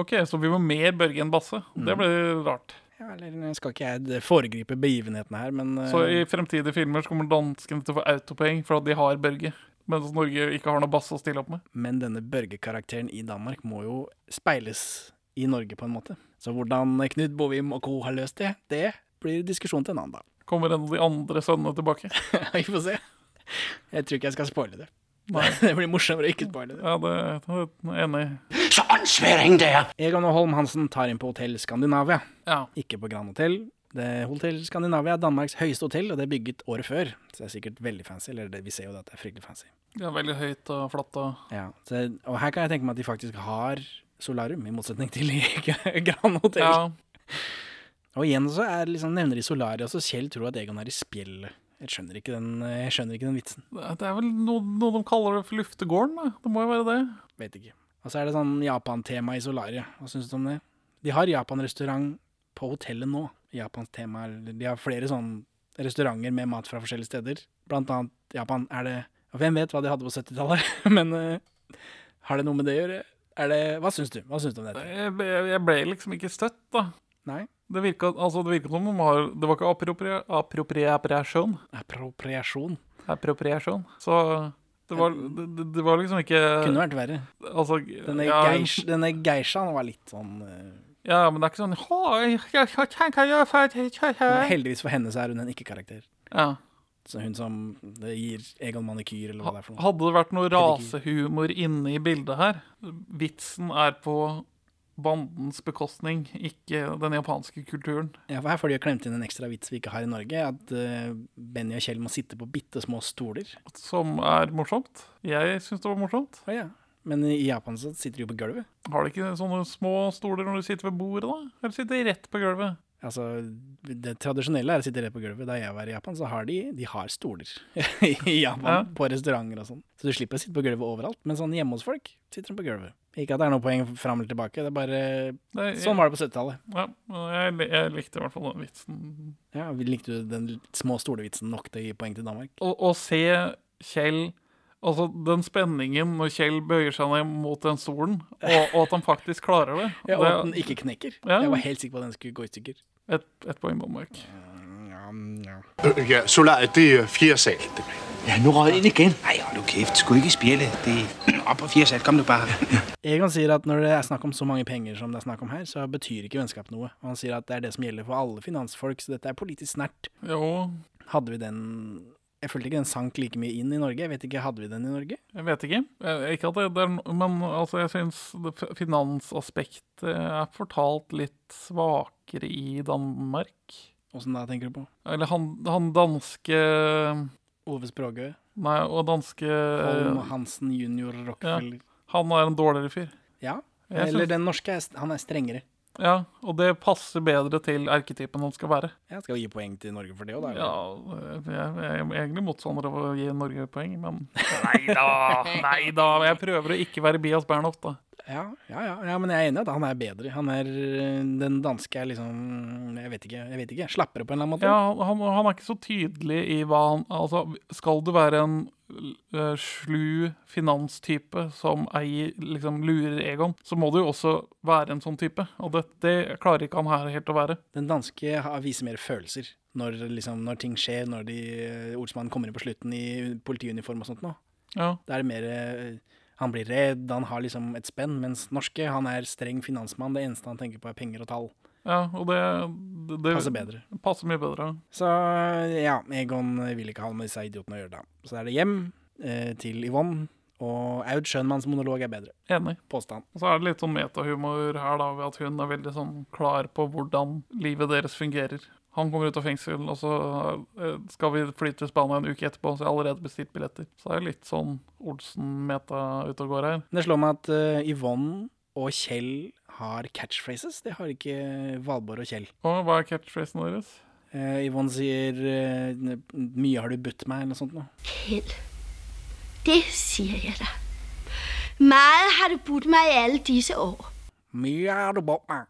B: ok, Så vi må mer Børge enn Basse.
A: Mm.
B: Det blir rart.
A: Ja, eller skal ikke jeg foregripe begivenhetene her, men eh,
B: Så i fremtidige filmer så kommer danskene til å få autopoeng for at de har Børge. Mens Norge ikke har noe bass å stille opp med.
A: Men denne børgekarakteren i Danmark må jo speiles i Norge på en måte. Så hvordan Knut Bovim og co. har løst det, det blir diskusjon til en annen dag. <laughs>
B: Kommer en av de andre sønnene tilbake?
A: Vi får se. Jeg tror ikke jeg skal spoile det.
B: Nei.
A: <laughs> Det blir morsommere å ikke spoile det.
B: Ja, det, det er enig.
E: Så åndssværing det er.
A: Egon og Holm Hansen tar inn på Hotell Skandinavia.
B: Ja.
A: Ikke på Grand Hotel. Det Hotell Skandinavia er Danmarks høyeste hotell, og det er bygget året før. Så det er sikkert veldig fancy. Eller det, vi ser jo det at det er fryktelig fancy.
B: Det er veldig høyt og flatt og
A: Ja, så, og her kan jeg tenke meg at de faktisk har solarium, i motsetning til i <laughs> Grand Hotel.
B: Ja.
A: Og igjen så er, liksom, nevner de Solaria, så Kjell tror at Egon er i spjeldet. Jeg skjønner ikke den, jeg skjønner ikke den vitsen.
B: Det er vel noe, noe de kaller det for luftegården, da. Det må jo være det.
A: Vet ikke. Og så er det sånn Japan-tema i Solaria. Hva syns du om det? De har Japan-restaurant på hotellet nå. Japans tema, eller De har flere sånne restauranter med mat fra forskjellige steder. Blant annet Japan. Er det og Hvem vet hva de hadde på 70-tallet? <laughs> Men eh, har det noe med det å gjøre? Er det, hva syns du? Hva syns du om dette?
B: Jeg ble, jeg ble liksom ikke støtt, da.
A: Nei?
B: Det virka, altså, det virka som om de har Det var ikke appropria- appropriasjon.
A: Appropriasjon.
B: Appropriasjon. Så det var, det, det- det var liksom ikke
A: Kunne vært verre.
B: Altså,
A: Denne,
B: ja,
A: geish, denne geishaen var litt sånn eh,
B: Ja, men det er ikke sånn «Hoi, jeg skal tenke å gjøre for at jeg skal
A: Nei,
B: gjøre».
A: heldigvis for henne så er hun en ikke-karakter.
B: Ja.
A: Så hun som det gir Egon Manikyr, eller hva det er for noe.
B: Hadde det vært noe rasehumor inne i bildet her Vitsen er på bandens bekostning, ikke den japanske kulturen.
A: Ja, for her får de jo klemt inn en ekstra vits vi ikke har i Norge, at eh, Benny og Kjell må sitte på bitte små stoler.
B: Som er morsomt. Jeg syns det var morsomt.
A: Å ja. Men i Japan så sitter de jo på gulvet.
B: Har de ikke sånne små stoler når du sitter ved bordet, da? Eller sitter de rett på gulvet?
A: Altså, det tradisjonelle er å sitte rett på gulvet. Da jeg var i Japan, så har de, de har stoler <laughs> i Japan,
B: Ja.
A: på restauranter og sånn. Så du slipper å sitte på gulvet overalt, men sånn hjemme hos folk sitter de på gulvet. Ikke at det er noe poeng fram eller tilbake, det er bare
B: Det,
A: Sånn var det på 70-tallet.
B: Ja, jeg, jeg likte i hvert fall den vitsen.
A: Ja, likte du den små stolevitsen nok til å gi poeng til Danmark?
B: Å, å se Kjell Altså, den spenningen når Kjell bøyer seg ned mot den stolen, og, og at han faktisk klarer det.
A: <laughs> Ja, og at den
B: det
A: ikke knekker.
B: Ja.
A: Jeg var helt sikker på at den skulle gå i stykker.
B: er et, et poeng, Danmark.
I: Øh, ja, solariet, det er fjerde sal. Det er.
E: Ja, nu røg ind igen. Nej, hold nu kæft. Skulle ikke spjælde. Det
J: <clears throat>
E: er op på fire sat. Kom nu bare.
A: Egon sier at når det er snakk om så mange penger som det er snakk om her, så betyr ikke vennskap noe. Og han sier at det er det som gjelder for alle finansfolk, så dette er politisk snert.
B: Jo,
A: Hadde vi den Jeg følte ikke den sank like mye inn i Norge. Jeg vet ikke, Hadde vi den i Norge?
B: jeg vet ikke. Jeg, ikke at det, det er, no- men altså, jeg syns finansaspektet er fortalt litt svakere i Danmark.
A: Åssen da, tenker du på?
B: Eller han, han danske
A: Ove Språgø?
B: Nei, og danske
A: Holm Hansen jr. Rockefeller?
B: Han er en dårligere fyr.
A: Ja.
B: Jeg
A: Eller
B: syns-
A: den norske, er, st- han er strengere.
B: Ja, og det passer bedre til erketypen han skal være.
A: Jeg skal jo gi poeng til Norge for det òg, da. eller?
B: Ja, jeg jeg er egentlig motstander av å gi Norge poeng, men Nei da! <laughs> Nei da! Jeg prøver å ikke være Bias Bernhoft, da.
A: Ja, ja, ja, ja, men jeg er enig i at han er bedre. Han er, øh, den danske er liksom Jeg vet ikke. jeg vet ikke, Slappere på en eller annen måte.
B: Ja, han, han er ikke så tydelig i hva han Altså, skal du være en eh, slu finanstype som eier, liksom lurer Egon, så må du jo også være en sånn type. Og det, det klarer ikke han her helt å være.
A: Den danske har- viser mer følelser når, liksom, når ting skjer, når de, eh, ordsmannen kommer inn på slutten i politiuniform og sånt. Nå.
B: Ja.
A: Da er det mer eh, Han blir redd, han har liksom et spenn. Mens norske, han er streng finansmann. Det eneste han tenker på, er penger og tall.
B: Ja, og det, det, det
A: Passer bedre.
B: passer mye bedre.
A: Så eh, ja, Egon vil ikke ha med disse idiotene å gjøre, da. Så er det hjem eh, til Yvonne. Og Aud Schønmanns monolog er bedre.
B: Enig.
A: Påstand.
B: Og så er det litt sånn metahumor her, da, ved at hun er veldig sånn klar på hvordan livet deres fungerer. Han kommer ut av fengsel, og så eh, skal vi flytte til Spania en uke etterpå, så jeg har allerede bestilt billetter. Så det er litt sånn Olsen-meta ute og går her.
A: Men det slår meg at eh, Yvonne og Kjell har catchphrases. Det har ikke Valborg og Kjell.
B: Og hva er catchphrasen deres?
A: Eh, Yvonne sier eh, n- 'mye har du budt meg', eller noe sånt. Nå.
H: Kjell, det siger jeg dig. Meget har du budt mig i alle disse år.
A: 'Mye har du budt meg'.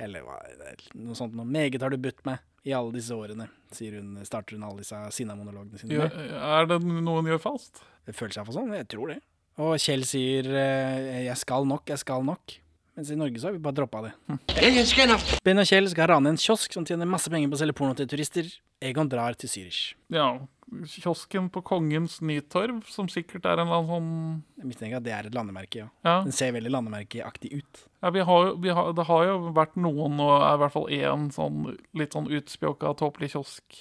A: Eller hva er det? noe sånt. Nå. 'Meget har du budt meg i alle disse årene', sier hun, starter hun alle disse sinna monologene sine
B: Gjør,
A: med.
B: er det noen gjør fast?
A: Det føles iallfall sånn. Jeg tror det. Og Kjell sier eh, 'jeg skal nok, jeg skal nok'. Mens i Norge så har vi bare droppa det.
G: <laughs> Ja, jeg skal nok.
A: Ben og Kjell skal rane en kiosk som tjener masse penger på å selge porno til turister. Egon drar til Zürich.
B: Ja. Kiosken på Kongens Nytorv, som sikkert er en eller annen sånn
A: Jeg mistenker at det er et landemerke, ja.
B: Ja.
A: Den ser veldig landemerkeaktig ut. <laughs>
B: Ja, vi har, jo- vi har, det har jo vært noen, og er i hvert fall én sånn litt sånn utspjåka, tåpelig kiosk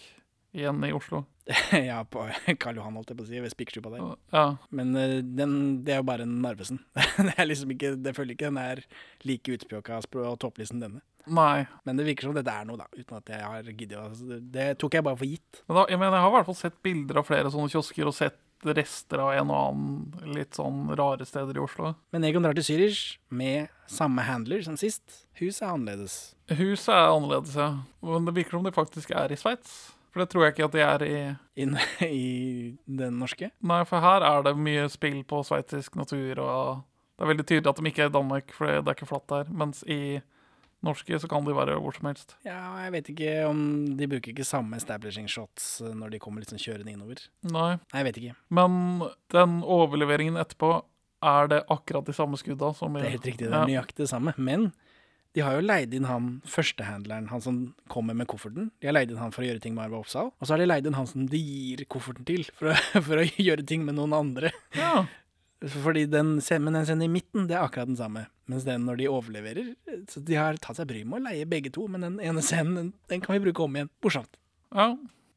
B: igjen i Oslo.
A: ja, på Karl Johan, holdt jeg på å si, ved Spikerstua der.
B: Ja,
A: Men eh, den, det er jo bare en Narvesen. <laughs> det er liksom ikke, jeg føler ikke den er like utspjåka språ- og tåpelig som denne.
B: nei.
A: Men det virker som dette er noe, da. Uten at jeg har giddet å altså, det- Det tok jeg bare for gitt.
B: Men da, jeg, mener, jeg har i hvert fall sett bilder av flere sånne kiosker, og sett rester av en og annen litt sånn rare steder i Oslo.
A: Men Egon drar til Zürich med samme handler som sist. Huset er annerledes.
B: Huset er annerledes, ja. Men det virker som de faktisk er i Sveits. For det tror jeg ikke at de er i
A: Inn <laughs> i den norske.
B: Nei, for her er det mye spill på sveitsisk natur, og det er veldig tydelig at de ikke er i Danmark, for det er ikke flatt der. Mens i norske så kan de være hvor som helst.
A: Ja, jeg vet ikke om De bruker ikke samme establishing shots eh, når de kommer liksom kjørende innover.
B: Nei.
A: Nei, jeg vet ikke.
B: Men den overleveringen etterpå, er det akkurat de samme skudda som i-
A: Det er helt riktig, det
B: Ja.
A: er nøyaktig det samme. Men de har jo leid inn han førstehandleren, han som kommer med kofferten. De har leid inn han for å gjøre ting med Arve Oppsal. <laughs> Og så har de leid inn han som de gir kofferten til, for å, for å gjøre ting med noen andre.
B: Ja.
A: Fordi den, scen- men den scenen i midten, det er akkurat den samme. Mens den når de overleverer Så de har tatt seg bryet med å leie begge to, men den ene scenen, den, den kan vi bruke om igjen. Morsomt.
B: Ja.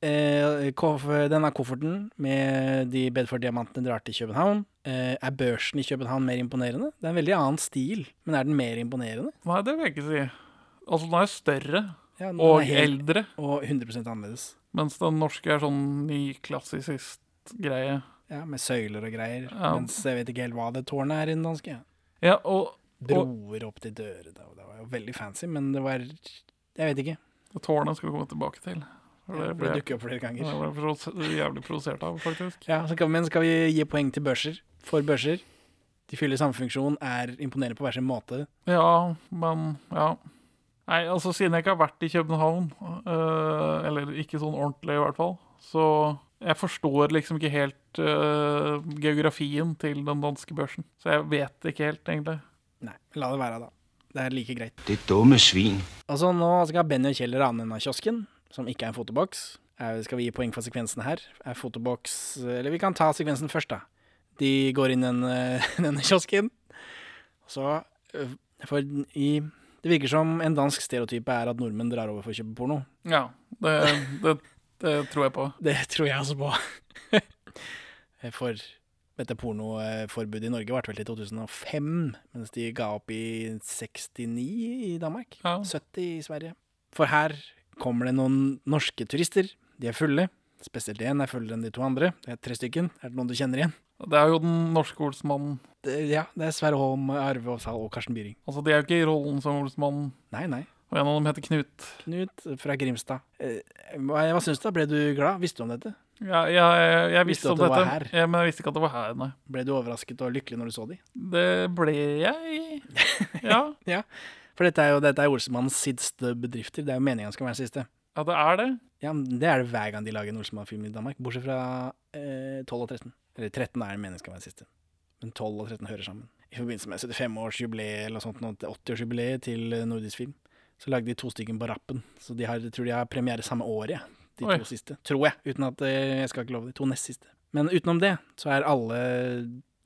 A: Eh, koff- denne kofferten med de Bedford-diamantene drar til København. Eh, er børsen i København mer imponerende? Det er en veldig annen stil, men er den mer imponerende?
B: Nei, det vil jeg ikke si. Altså, den er større
A: Ja, den
B: og
A: er helt-
B: eldre,
A: Og 100 annerledes.
B: mens den norske er sånn nyklassisist-greie.
A: Ja, Med søyler og greier.
B: Ja.
A: Mens jeg vet ikke helt hva det tårnet er i den danske. Ja.
B: Ja, og, og
A: Broer opp til dørene. og Det var jo veldig fancy, men det var Jeg vet ikke.
B: tårnet skal vi komme tilbake til. For
A: Det
B: det ble, det
A: dukker opp flere ganger.
B: ble jeg provos- jævlig provosert av, faktisk.
A: Ja, så kan, Men skal vi gi poeng til børser? For børser. De fyller samme funksjon, er imponerende på hver sin måte.
B: Ja, men ja. Nei, altså siden jeg ikke har vært i København, øh, eller ikke sånn ordentlig i hvert fall, så jeg forstår liksom ikke helt øh, geografien til den danske børsen. Så jeg vet ikke helt, egentlig.
A: Nei, la det være, da. Det er like greit.
E: Det dumme svin.
A: Altså, nå skal Benny og Kjell rane en av kiosken, som ikke er en fotoboks. Er, skal vi gi poeng for sekvensen her? Er fotoboks Eller vi kan ta sekvensen først, da. De går inn den, eh, <laughs> denne kiosken. Så eh, For i Det virker som en dansk stereotype er at nordmenn drar over for å kjøpe porno.
B: Ja, det, det, det tror jeg på.
A: Det tror jeg også på. <laughs> For dette pornoforbudet i Norge varte vel til 2005, mens de ga opp i 69 i Danmark.
B: Ja.
A: 70 i Sverige. For her kommer det noen norske turister. De er fulle. Spesielt én er fullere enn de to andre. Det er tre stykken. Er det noen du kjenner igjen?
B: Det er jo den norske olsmannen.
A: Det, ja, det er Sverre Holm, Arve Aasal og Karsten Byring.
B: Altså, de er jo ikke i rollen som olsmannen,
A: Nei, nei.
B: og en av dem heter Knut.
A: Knut fra Grimstad. Eh, Hva, hva syns du? da? Ble du glad? Visste du om dette?
B: Ja, jeg, jeg,
A: Visste
B: jeg visste
A: du at
B: om
A: det
B: dette,
A: var her?
B: Ja, men jeg visste ikke at det var her, nei.
A: Ble du overrasket og lykkelig når du så de?
B: Det ble jeg.
A: <laughs>
B: Ja,
A: Ja, for dette er jo dette er Olsemannens siste bedrifter. Det er jo meningen han skal være den siste.
B: ja det er det.
A: Ja, men Det er det hver gang de lager en Olsemann-film i Danmark, bortsett fra eh, 12 og 13. Eller 13 er det meningen skal være den siste. Men 12 og 13 hører sammen. I forbindelse med 75-årsjubileet eller noe sånt, nå, 80-årsjubileet til eh, nordisk film, så lagde de to stykker på rappen. Så de har, jeg tror de har premiere samme året, ja. de
B: Oi.
A: to siste. Tror jeg, uten at eh, jeg skal ikke love det. To nest siste. Men utenom det, så er alle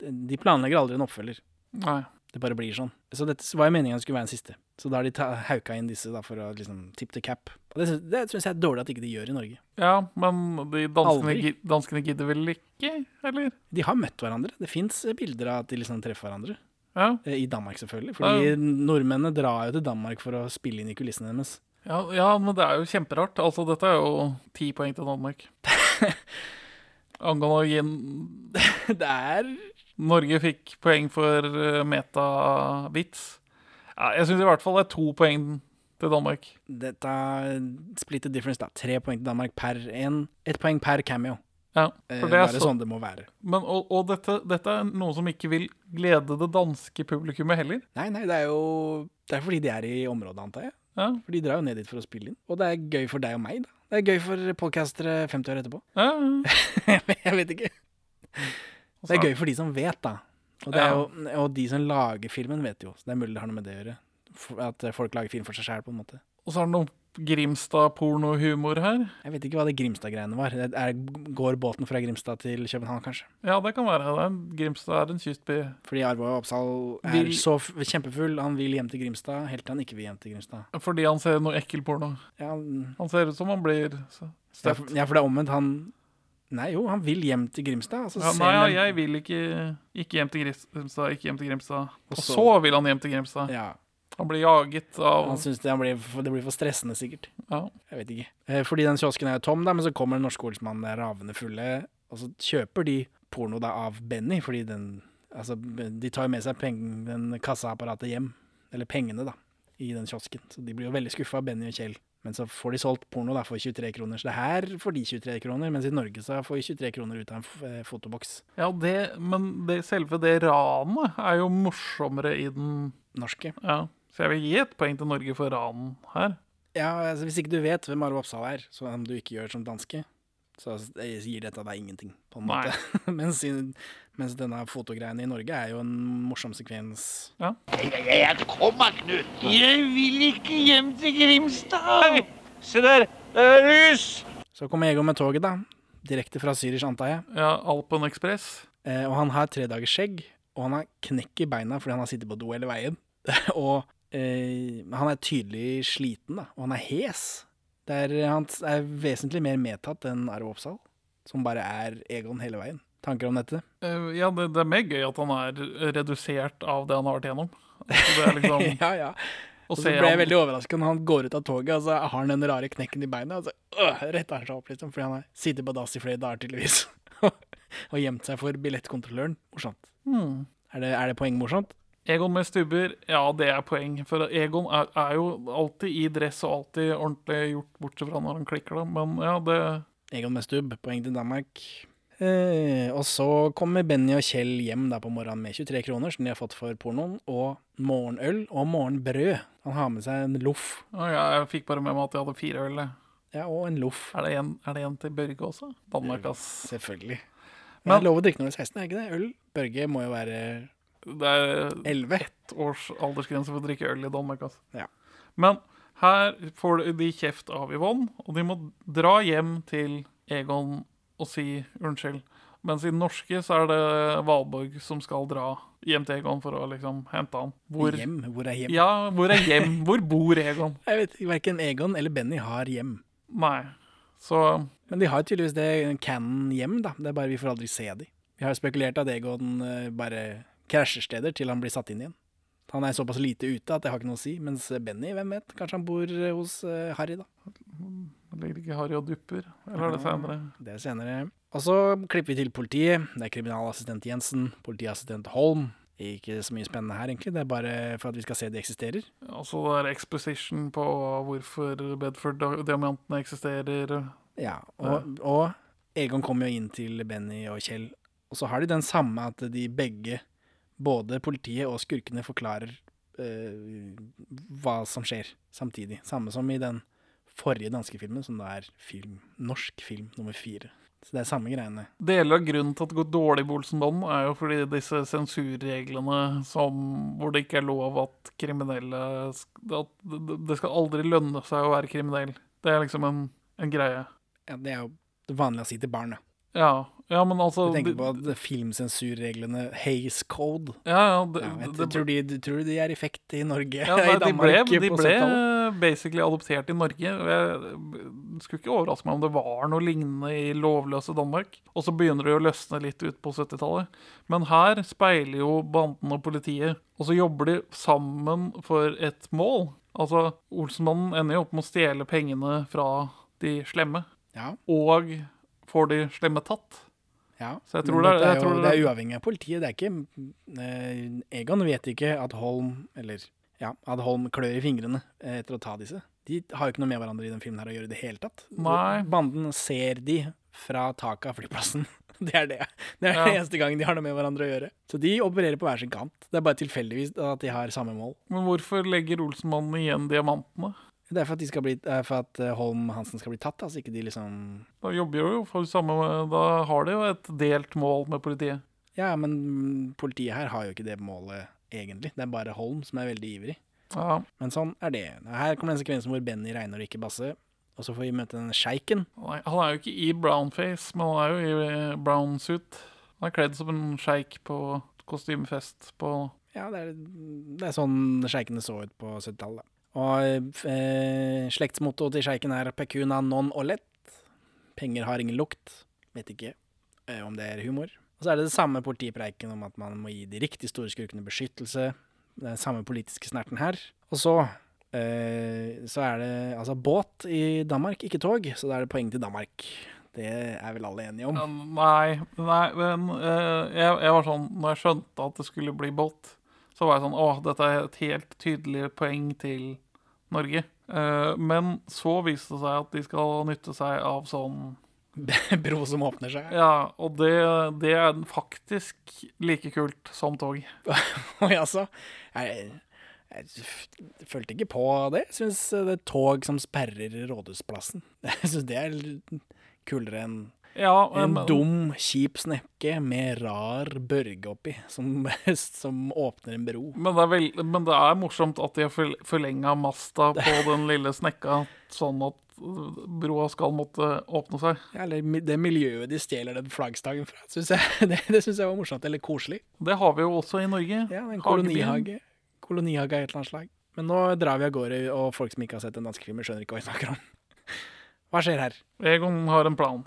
A: De planlegger aldri en oppfølger.
B: Nei.
A: Det bare blir sånn. Så dette var jo meningen det skulle være den siste. Så da har de ta, hauka inn disse da, for å liksom tipp til cap. Og det, sy- det syns jeg er dårlig at ikke de gjør i Norge.
B: Ja, men de danskene,
A: Aldri.
B: gi- danskene gidder vel ikke, eller?
A: De har møtt hverandre. Det fins bilder av at de liksom treffer hverandre.
B: Ja,
A: Eh, I Danmark, selvfølgelig. Fordi
B: Ja.
A: nordmennene drar jo til Danmark for å spille inn i kulissene deres.
B: ja, ja men det er jo kjemperart. Altså, dette er jo ti poeng til
A: <laughs>
B: Danmark. Angående å gi en-
A: <laughs> Det er
B: Norge fikk poeng for eh, metavits. Ja, jeg syns i hvert fall det er to poeng til Danmark.
A: Dette split the difference, da. Tre poeng til Danmark per én. Ett poeng per cameo.
B: Ja,
A: Eh,
B: for det
A: bare
B: er så,
A: sånn det må være.
B: men, og, og dette, dette er noe som ikke vil glede det danske publikummet heller.
A: Nei, nei, det er jo Det er fordi de er i området, antar jeg.
B: Ja,
A: For de drar jo ned dit for å spille inn. Og det er gøy for deg og meg, da. Det er gøy for podcastere 50 år etterpå. <laughs>
B: ja, ja.
A: jeg vet ikke. Det er
B: Så-
A: gøy for de som vet, da. Og, det er
B: Ja.
A: jo, og de som lager filmen, vet jo. Så det er mulig det har noe med det å gjøre. For- At folk lager film for seg sjæl, på en måte.
B: Og så er det noe Grimstad-pornohumor her.
A: Jeg vet ikke hva det Grimstad-greiene var. Det Er, går båten fra Grimstad til København, kanskje?
B: Ja, det kan være. Det er en, Grimstad er en kystby.
A: Fordi Arve Oppsal er
B: Vil-
A: så f kjempefull. Han vil hjem til Grimstad, helt til han ikke vil hjem til Grimstad.
B: Fordi han ser noe ekkel porno.
A: Ja, han-
B: Han ser ut som han blir så-
A: ja,
B: støtt.
A: for, ja, for det er omvendt. Han Nei, jo, han vil hjem til Grimstad. altså og så
B: Ja,
A: ser
B: nei, ja,
A: han-
B: jeg vil ikke Ikke hjem til Grimstad, ikke hjem til Grimstad. Og
A: så-
B: så vil han hjem til Grimstad.
A: ja,
B: Han blir jaget
A: Han
B: av
A: syns det, han blir for- det blir for stressende, sikkert.
B: ja.
A: Jeg vet ikke. Eh, Fordi den kiosken er jo tom, da, men så kommer den norske odelsmannen der ravende fulle, og så kjøper de porno da av Benny, fordi den Altså, de tar jo med seg peng- den kassaapparatet hjem, eller pengene, da, i den kiosken. Så de blir jo veldig skuffa, Benny og Kjell. Men så får de solgt porno da for 23 kroner, så det her får de 23 kroner, mens i Norge så får de 23 kroner ut av en f eh, fotoboks.
B: ja det, men det, selve det ranet er jo morsommere i den
A: Norske.
B: Ja. Så jeg vil gi et poeng til Norge for ranen her.
A: Ja, altså Hvis ikke du vet hvem Arve Oppsal er, så om du ikke gjør som danske, så altså, gir dette deg ingenting, på en måte. <laughs> mens, i, mens denne fotogreiene i Norge er jo en morsom sekvens. Så kommer Egon med toget, da. Direkte fra Zürich, antar jeg.
B: Ja, Alpen Express.
A: Eh, og han har tre dagers skjegg, og han har knekk i beina fordi han har sittet på do hele veien. <laughs> og eh, han er tydelig sliten, da. Og han er hes. Det er, eh, han er vesentlig mer medtatt enn Arve Oppsal, som bare er Egon hele veien. Tanker om dette?
B: Eh, Ja, det, det er mer gøy at han er redusert av det han har vært gjennom. Altså, det er
A: <laughs>
B: liksom,
A: ja, ja.
B: å
A: Og så
B: se
A: ble jeg
B: han-
A: veldig overraska når han går ut av toget, og så har han den rare knekken i beina, og så øh, retter han seg opp, liksom, fordi han har sittet på dass i flere dager, tydeligvis. <laughs> og gjemt seg for billettkontrolløren. Morsomt. Er det, er det poeng morsomt?
B: Egon med stubber, ja, det er poeng. For Egon er, er jo alltid i dress og alltid ordentlig gjort, bortsett fra når han klikker, da. Men ja, det
A: Egon med stubb, poeng til Danmark. Eh, og så kommer Benny og Kjell hjem da på morgenen med 23 kroner, som de har fått for pornoen, og morgenøl og morgenbrød. Han har med seg en loff.
B: ja, jeg, jeg fikk bare med meg at jeg hadde fire øl. jeg.
A: Ja, og en loff.
B: Er det en, er det en til Børge også? Danmark, ass.
A: Selvfølgelig. Men
B: Men-
A: det er lov å drikke når du er 16, er ikke det? Øl? Børge må jo være
B: Det er
A: 11.
B: års aldersgrense for å drikke øl i Danmark, ass.
A: Ja.
B: Men her får de kjeft av Yvonne, og de må dra hjem til Egon og si unnskyld. Mens i den norske så er det Valborg som skal dra hjem til Egon for å liksom hente han. Hvor,
A: Hjem? Hvor er hjem?
B: Ja, hvor er hjem? Hvor bor Egon?
A: Jeg vet ikke, Verken Egon eller Benny har hjem.
B: Nei. Så
A: Men de har tydeligvis det canon hjem, da. Det er bare vi får aldri se de. Vi har jo spekulert at Egon eh, bare krasjer steder til han blir satt inn igjen. Han er såpass lite ute at det har ikke noe å si. Mens Benny, hvem vet, kanskje han bor eh, hos eh, Harry, da.
B: ligger ikke Harry og dupper, eller er det senere?
A: Det er senere. Og så klipper vi til politiet. Det er kriminalassistent Jensen, politiassistent Holm. Ikke så mye spennende her, egentlig. Det er bare for at vi skal se de eksisterer.
B: Altså det er exposition på hvorfor Bedford-diamantene eksisterer.
A: Ja, og, og Egon kommer jo inn til Benny og Kjell, og så har de den samme at de begge, både politiet og skurkene, forklarer eh, hva som skjer samtidig. Samme som i den forrige danske filmen, som da er film, norsk film nummer fire. Så det er samme greiene.
B: Deler av grunnen til at det går dårlig i Olsenbanden, er jo fordi disse sensurreglene som, hvor det ikke er lov at kriminelle sk- at Det det skal aldri lønne seg å være kriminell. Det er liksom en, en greie.
A: Ja, det er jo det vanlige å si til barn, da.
B: Ja, ja men altså
A: Jeg tenker
B: de-
A: på at filmsensurreglene, Hays Code.
B: Ja, ja, det,
A: Ja, jeg
B: det,
A: tror, de, du tror de er i effekt i Norge?
B: ja,
A: <laughs> i
B: nei, de ble,
A: Danmark,
B: de
A: på
B: ble eh,
A: 70-tallet?
B: basically adoptert i Norge. og Jeg det skulle ikke overraske meg om det var noe lignende i lovløse Danmark. Og så begynner det å løsne litt ut på 70-tallet. Men her speiler jo banden og politiet, og så jobber de sammen for et mål. Altså, Olsenmannen ender jo opp med å stjele pengene fra de slemme,
A: Ja,
B: og får de slemme tatt.
A: Ja,
B: Så jeg
A: men
B: tror det er-
A: dette
B: jeg
A: jo,
B: tror det
A: det
B: er-
A: er uavhengig av politiet. Det er ikke eh, Egon vet ikke at Holm Eller ja, at Holm klør i fingrene eh, etter å ta disse. De har jo ikke noe med hverandre i den filmen her å gjøre i det hele tatt.
B: Nei.
A: Banden ser de fra taket av flyplassen. <laughs> Det er det. Det er
B: Ja.
A: den eneste gangen de har noe med hverandre å gjøre. Så de opererer på hver sin kant. Det er bare tilfeldigvis at de har samme mål.
B: Men hvorfor legger Olsenmannen igjen diamantene?
A: Det er for at, de skal bli, eh, for at eh, Holm Hansen skal bli tatt, altså ikke de liksom
B: Da jobber jo for samme Da har de jo et delt mål med politiet.
A: Ja, men politiet her har jo ikke det målet, egentlig. Det er bare Holm som er veldig ivrig.
B: Ja,
A: Men sånn er det. Her kommer den sekvensen hvor Benny regner og ikke Basse. Og så får vi møte den sjeiken.
B: Nei, han er jo ikke i brownface, men han er jo i brown suit. Han er kledd som en sjeik på kostymefest på
A: Ja, det er, det er sånn sjeikene så ut på 70-tallet. da. Og eh, slektsmottoet til sjeiken er 'pecuna non olet'. Penger har ingen lukt. Vet ikke eh, om det er humor. Og så er det det samme politipreiken om at man må gi de riktig store skurkene beskyttelse. Det er den samme politiske snerten her. Og så eh, så er det altså båt i Danmark, ikke tog, så da er det poeng til Danmark. Det er vel alle enige om.
B: Ja, Nei, nei men eh, jeg, jeg var sånn Når jeg skjønte at det skulle bli båt, så var jeg sånn Å, dette er et helt tydelig poeng til Norge. Eh, men så viste det seg at de skal nytte seg av sånn
A: <laughs> Bro som åpner seg.
B: Ja, og det, det er faktisk like kult som tog.
A: Oi, altså. Jeg, jeg f- følte ikke på det. Jeg syns det er tog som sperrer Rådhusplassen. <laughs> Jeg syns det er l- kulere enn
B: Ja,
A: en
B: men-
A: dum, kjip snekke med rar børge oppi, som, <laughs> som åpner en bro.
B: Men det, er
A: <laughs>
B: vel, men det er morsomt at de har forlenga masta på den lille snekka, sånn at broa skal måtte åpne seg.
A: Ja, eller mi- det miljøet de stjeler den flaggstangen fra, synes jeg, <laughs> det, det syns jeg var morsomt. Eller koselig.
B: Det har vi jo også i Norge.
A: Ja, en
B: Hagebyen.
A: kolonihage. Kolonihage av et eller annet slag. Men nå drar vi av gårde, og folk som ikke har sett den danske filmen, skjønner ikke hva vi snakker om. <laughs> Hva skjer her?
B: Egon har en plan.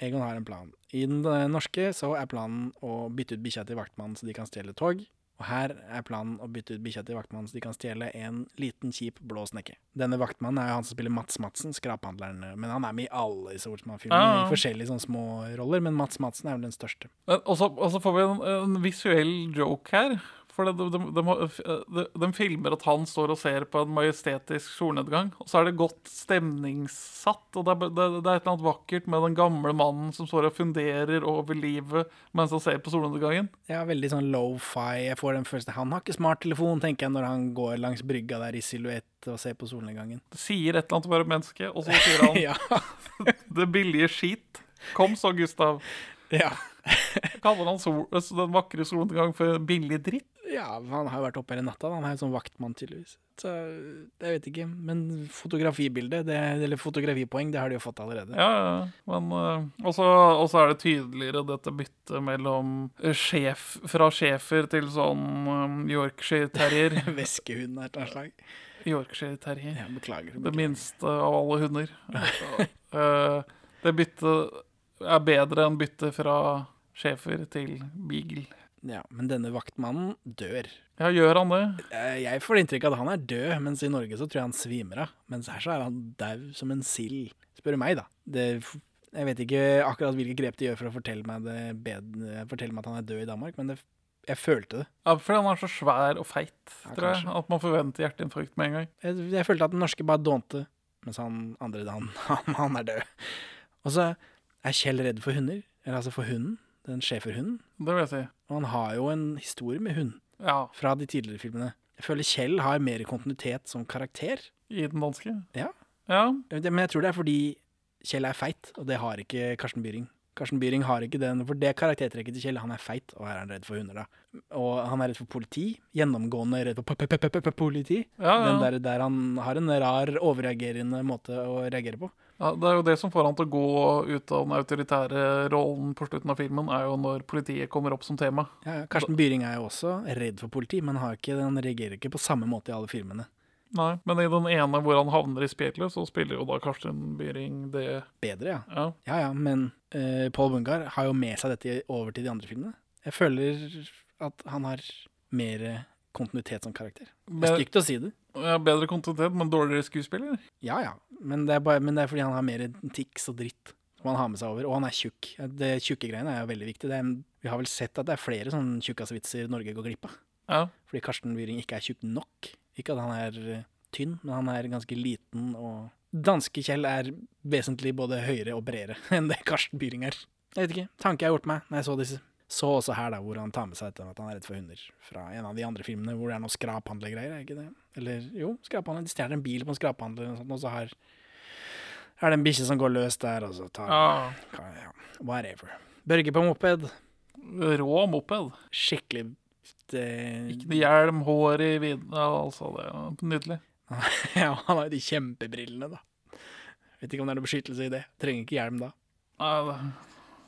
A: Egon har en plan. I den eh, norske så er planen å bytte ut bikkja til vaktmannen så de kan stjele tog. Og her er planen å bytte ut bikkja til vaktmannen så de kan stjele en liten, kjip, blå snekke. Denne vaktmannen er jo han som spiller Mats Madsen, skraphandleren. Men han er med i alle disse Olsmann-filmene,
B: Ja, ja.
A: i forskjellige sånne små roller. Men Mats Madsen er vel den største.
B: Men også- Og så får vi en, en visuell joke her. For de, de, de, øh, de, de filmer at han står og ser på en majestetisk solnedgang. Og så er det godt stemningssatt. Og det er, det, det er et eller annet vakkert med den gamle mannen som står og funderer over livet mens han ser på solnedgangen.
A: Ja, veldig sånn low-fi. Jeg får den følelsen Han har ikke smarttelefon, tenker jeg, når han går langs brygga der i silhuett og ser på solnedgangen.
B: Sier et eller annet om å være menneske, og så sier han
A: <laughs> Ja.
B: det billige skit. Kom så, Gustav.
A: ja.
B: Kaller han sol, altså den vakre solnedgang for billig dritt?
A: Ja, han har jo vært oppe hele natta. da. Han er jo sånn vaktmann, tydeligvis. Så jeg vet ikke. Men fotografibilde, det, eller fotografipoeng, det har de jo fått allerede.
B: Ja, ja. Men, eh, og så og så er det tydeligere dette byttet mellom eh, sjef, fra schæfer til sånn eh, Yorkshire-terrier.
A: <laughs> Væskehund av et eller annet slag.
B: Yorkshire-terrier.
A: Ja, beklager.
B: Det
A: beklager.
B: minste av alle
A: <laughs>
B: hunder. Eh, det byttet er bedre enn byttet fra schæfer til beagle.
A: Ja, men denne vaktmannen dør.
B: Ja, gjør han det?
A: Eh, Jeg får inntrykk av at han er død, mens i Norge så tror jeg han svimer av. Mens her så er han dau som en sild. Spør du meg, da. Det, jeg vet ikke akkurat hvilke grep de gjør for å fortelle meg, det bedre, fortelle meg at han er død i Danmark, men det, jeg følte det.
B: Ja, fordi han er så svær og feit,
A: Ja,
B: tror jeg.
A: kanskje.
B: At man forventer hjerteinfarkt med en gang.
A: Jeg, jeg følte at den norske bare dånte, mens han andre, han, <laughs> han, han er død. Og så er Kjell redd for hunder, eller altså for hunden, den schæferhunden.
B: Det vil jeg si.
A: Og han har jo en historie med hund
B: Ja,
A: fra de tidligere filmene. Jeg føler Kjell har mer kontinuitet som karakter.
B: i den danske.
A: Ja.
B: Ja,
A: Jeg vet ikke, Men jeg tror det er fordi Kjell er feit, og det har ikke Karsten Byring. Karsten Byring har ikke den, for det karaktertrekket til Kjell, han er feit, og her er han redd for hunder, da. Og han er redd for politi, gjennomgående redd for p- p- p- p- p- politi.
B: ja, ja.
A: Den der, der han har en rar, overreagerende måte å reagere på.
B: ja. Det er jo det som får han til å gå ut av den autoritære rollen på slutten av filmen, er jo når politiet kommer opp som tema.
A: Ja, ja, Karsten Byring er jo også redd for politi, men har ikke, han reagerer ikke på samme måte i alle filmene.
B: Nei, Men i den ene hvor han havner i spjelet, så spiller jo da Karsten Byring det
A: Bedre, ja.
B: Ja.
A: Ja ja, men eh, Paul Bungar har jo med seg dette over til de andre filmene. Jeg føler at han har mer eh, kontinuitet som karakter. Det
B: Men-
A: er stygt å si det.
B: ja bedre kontinuitet, men dårligere skuespiller.
A: Ja ja, men det er, bare, men det er fordi han har mer tics og dritt som han har med seg over. Og han er tjukk. Det tjukke greiene er jo veldig viktig. Det er, vi har vel sett at det er flere sånne tjukkasvitser Norge går glipp av.
B: Ja.
A: Fordi Karsten Byring ikke er tjukk nok. Ikke at han er eh, tynn, men han er ganske liten og Danske Kjell er vesentlig både høyere og bredere <laughs> enn det Karsten Byring er. Jeg vet ikke. Tanke jeg har gjort meg når jeg så disse. Så også her, da, hvor han tar med seg dette med at han er redd for hunder. Fra en av de andre filmene hvor det er noe skraphandlegreier, er ikke det? Eller jo, skraphandler. De stjeler en bil på en skraphandler, og, sånt, og så har er det en bikkje som går løs der, og så tar
B: ja.
A: ja, Whatever. Børge på moped.
B: Rå moped.
A: Skikkelig eh,
B: Ikke noe hjelm, hår i vidden ja, Altså, det er nydelig.
A: <laughs> Ja, han har jo de kjempebrillene, da. Vet ikke om det er noe beskyttelse i det. Trenger ikke hjelm da.
B: Nei, det,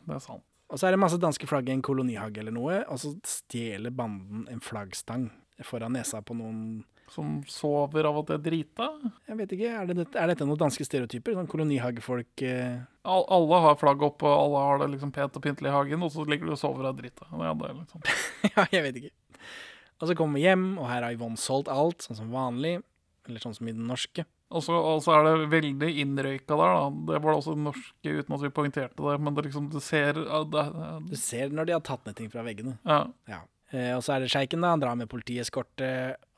B: det er sant.
A: Og så er det masse danske flagg i en kolonihage eller noe, og så stjeler banden en flaggstang foran nesa på noen
B: Som sover av at jeg er drita.
A: Jeg vet ikke, er, det, er dette noen danske stereotyper? Sånn kolonihagefolk eh, <laughs>
B: Al alle har flagg opp, og alle har det liksom pent og pyntelig i hagen, og så ligger du og sover av drita. Ja, det er litt sånn.
A: Ja, jeg vet ikke. Og så kommer vi hjem, og her har Yvonne solgt alt, sånn som vanlig. Eller sånn som i den norske.
B: Og så og så er det veldig innrøyka der, da. Det var det også det norske, uten at vi poengterte det, men det liksom, du ser ja, det,
A: Du ser når de har tatt ned ting fra veggene.
B: ja.
A: Ja. Eh, og så er det sjeiken, da. Han drar med politieskorte.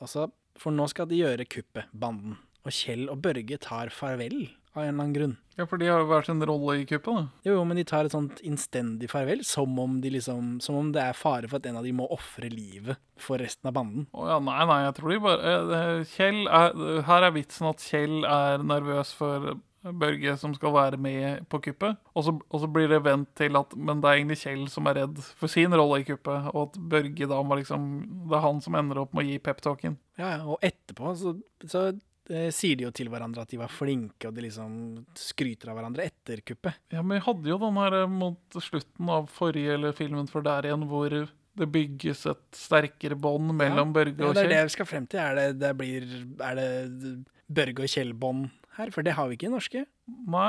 A: Og så- For nå skal de gjøre kuppet, banden. Og Kjell og Børge tar farvel, av en eller annen grunn.
B: ja, for de har jo hver sin rolle i kuppet, da.
A: Jo, jo, men de tar et sånt innstendig farvel, som om, de liksom, som om det er fare for at en av de må ofre livet for resten av banden.
B: Å ja, nei, nei, jeg tror de bare eh, eh, Kjell er, Her er vitsen at Kjell er nervøs for Børge som skal være med på kuppet. Og så, og så blir det vendt til at Men det er egentlig Kjell som er redd for sin rolle i kuppet, og at Børge da må liksom Det er han som ender opp med å gi peptalken.
A: Ja, ja, og etterpå så, så eh, sier de jo til hverandre at de var flinke, og de liksom skryter av hverandre etter kuppet.
B: Ja, men jeg hadde jo den her eh, mot slutten av forrige eller filmen for der igjen, hvor det bygges et sterkere bånd mellom Børge
A: Ja,
B: og
A: det er det
B: Kjell.
A: vi skal frem til. Er det, det blir, er det Børge og Kjell-bånd her? For det har vi ikke i norske.
B: Nei,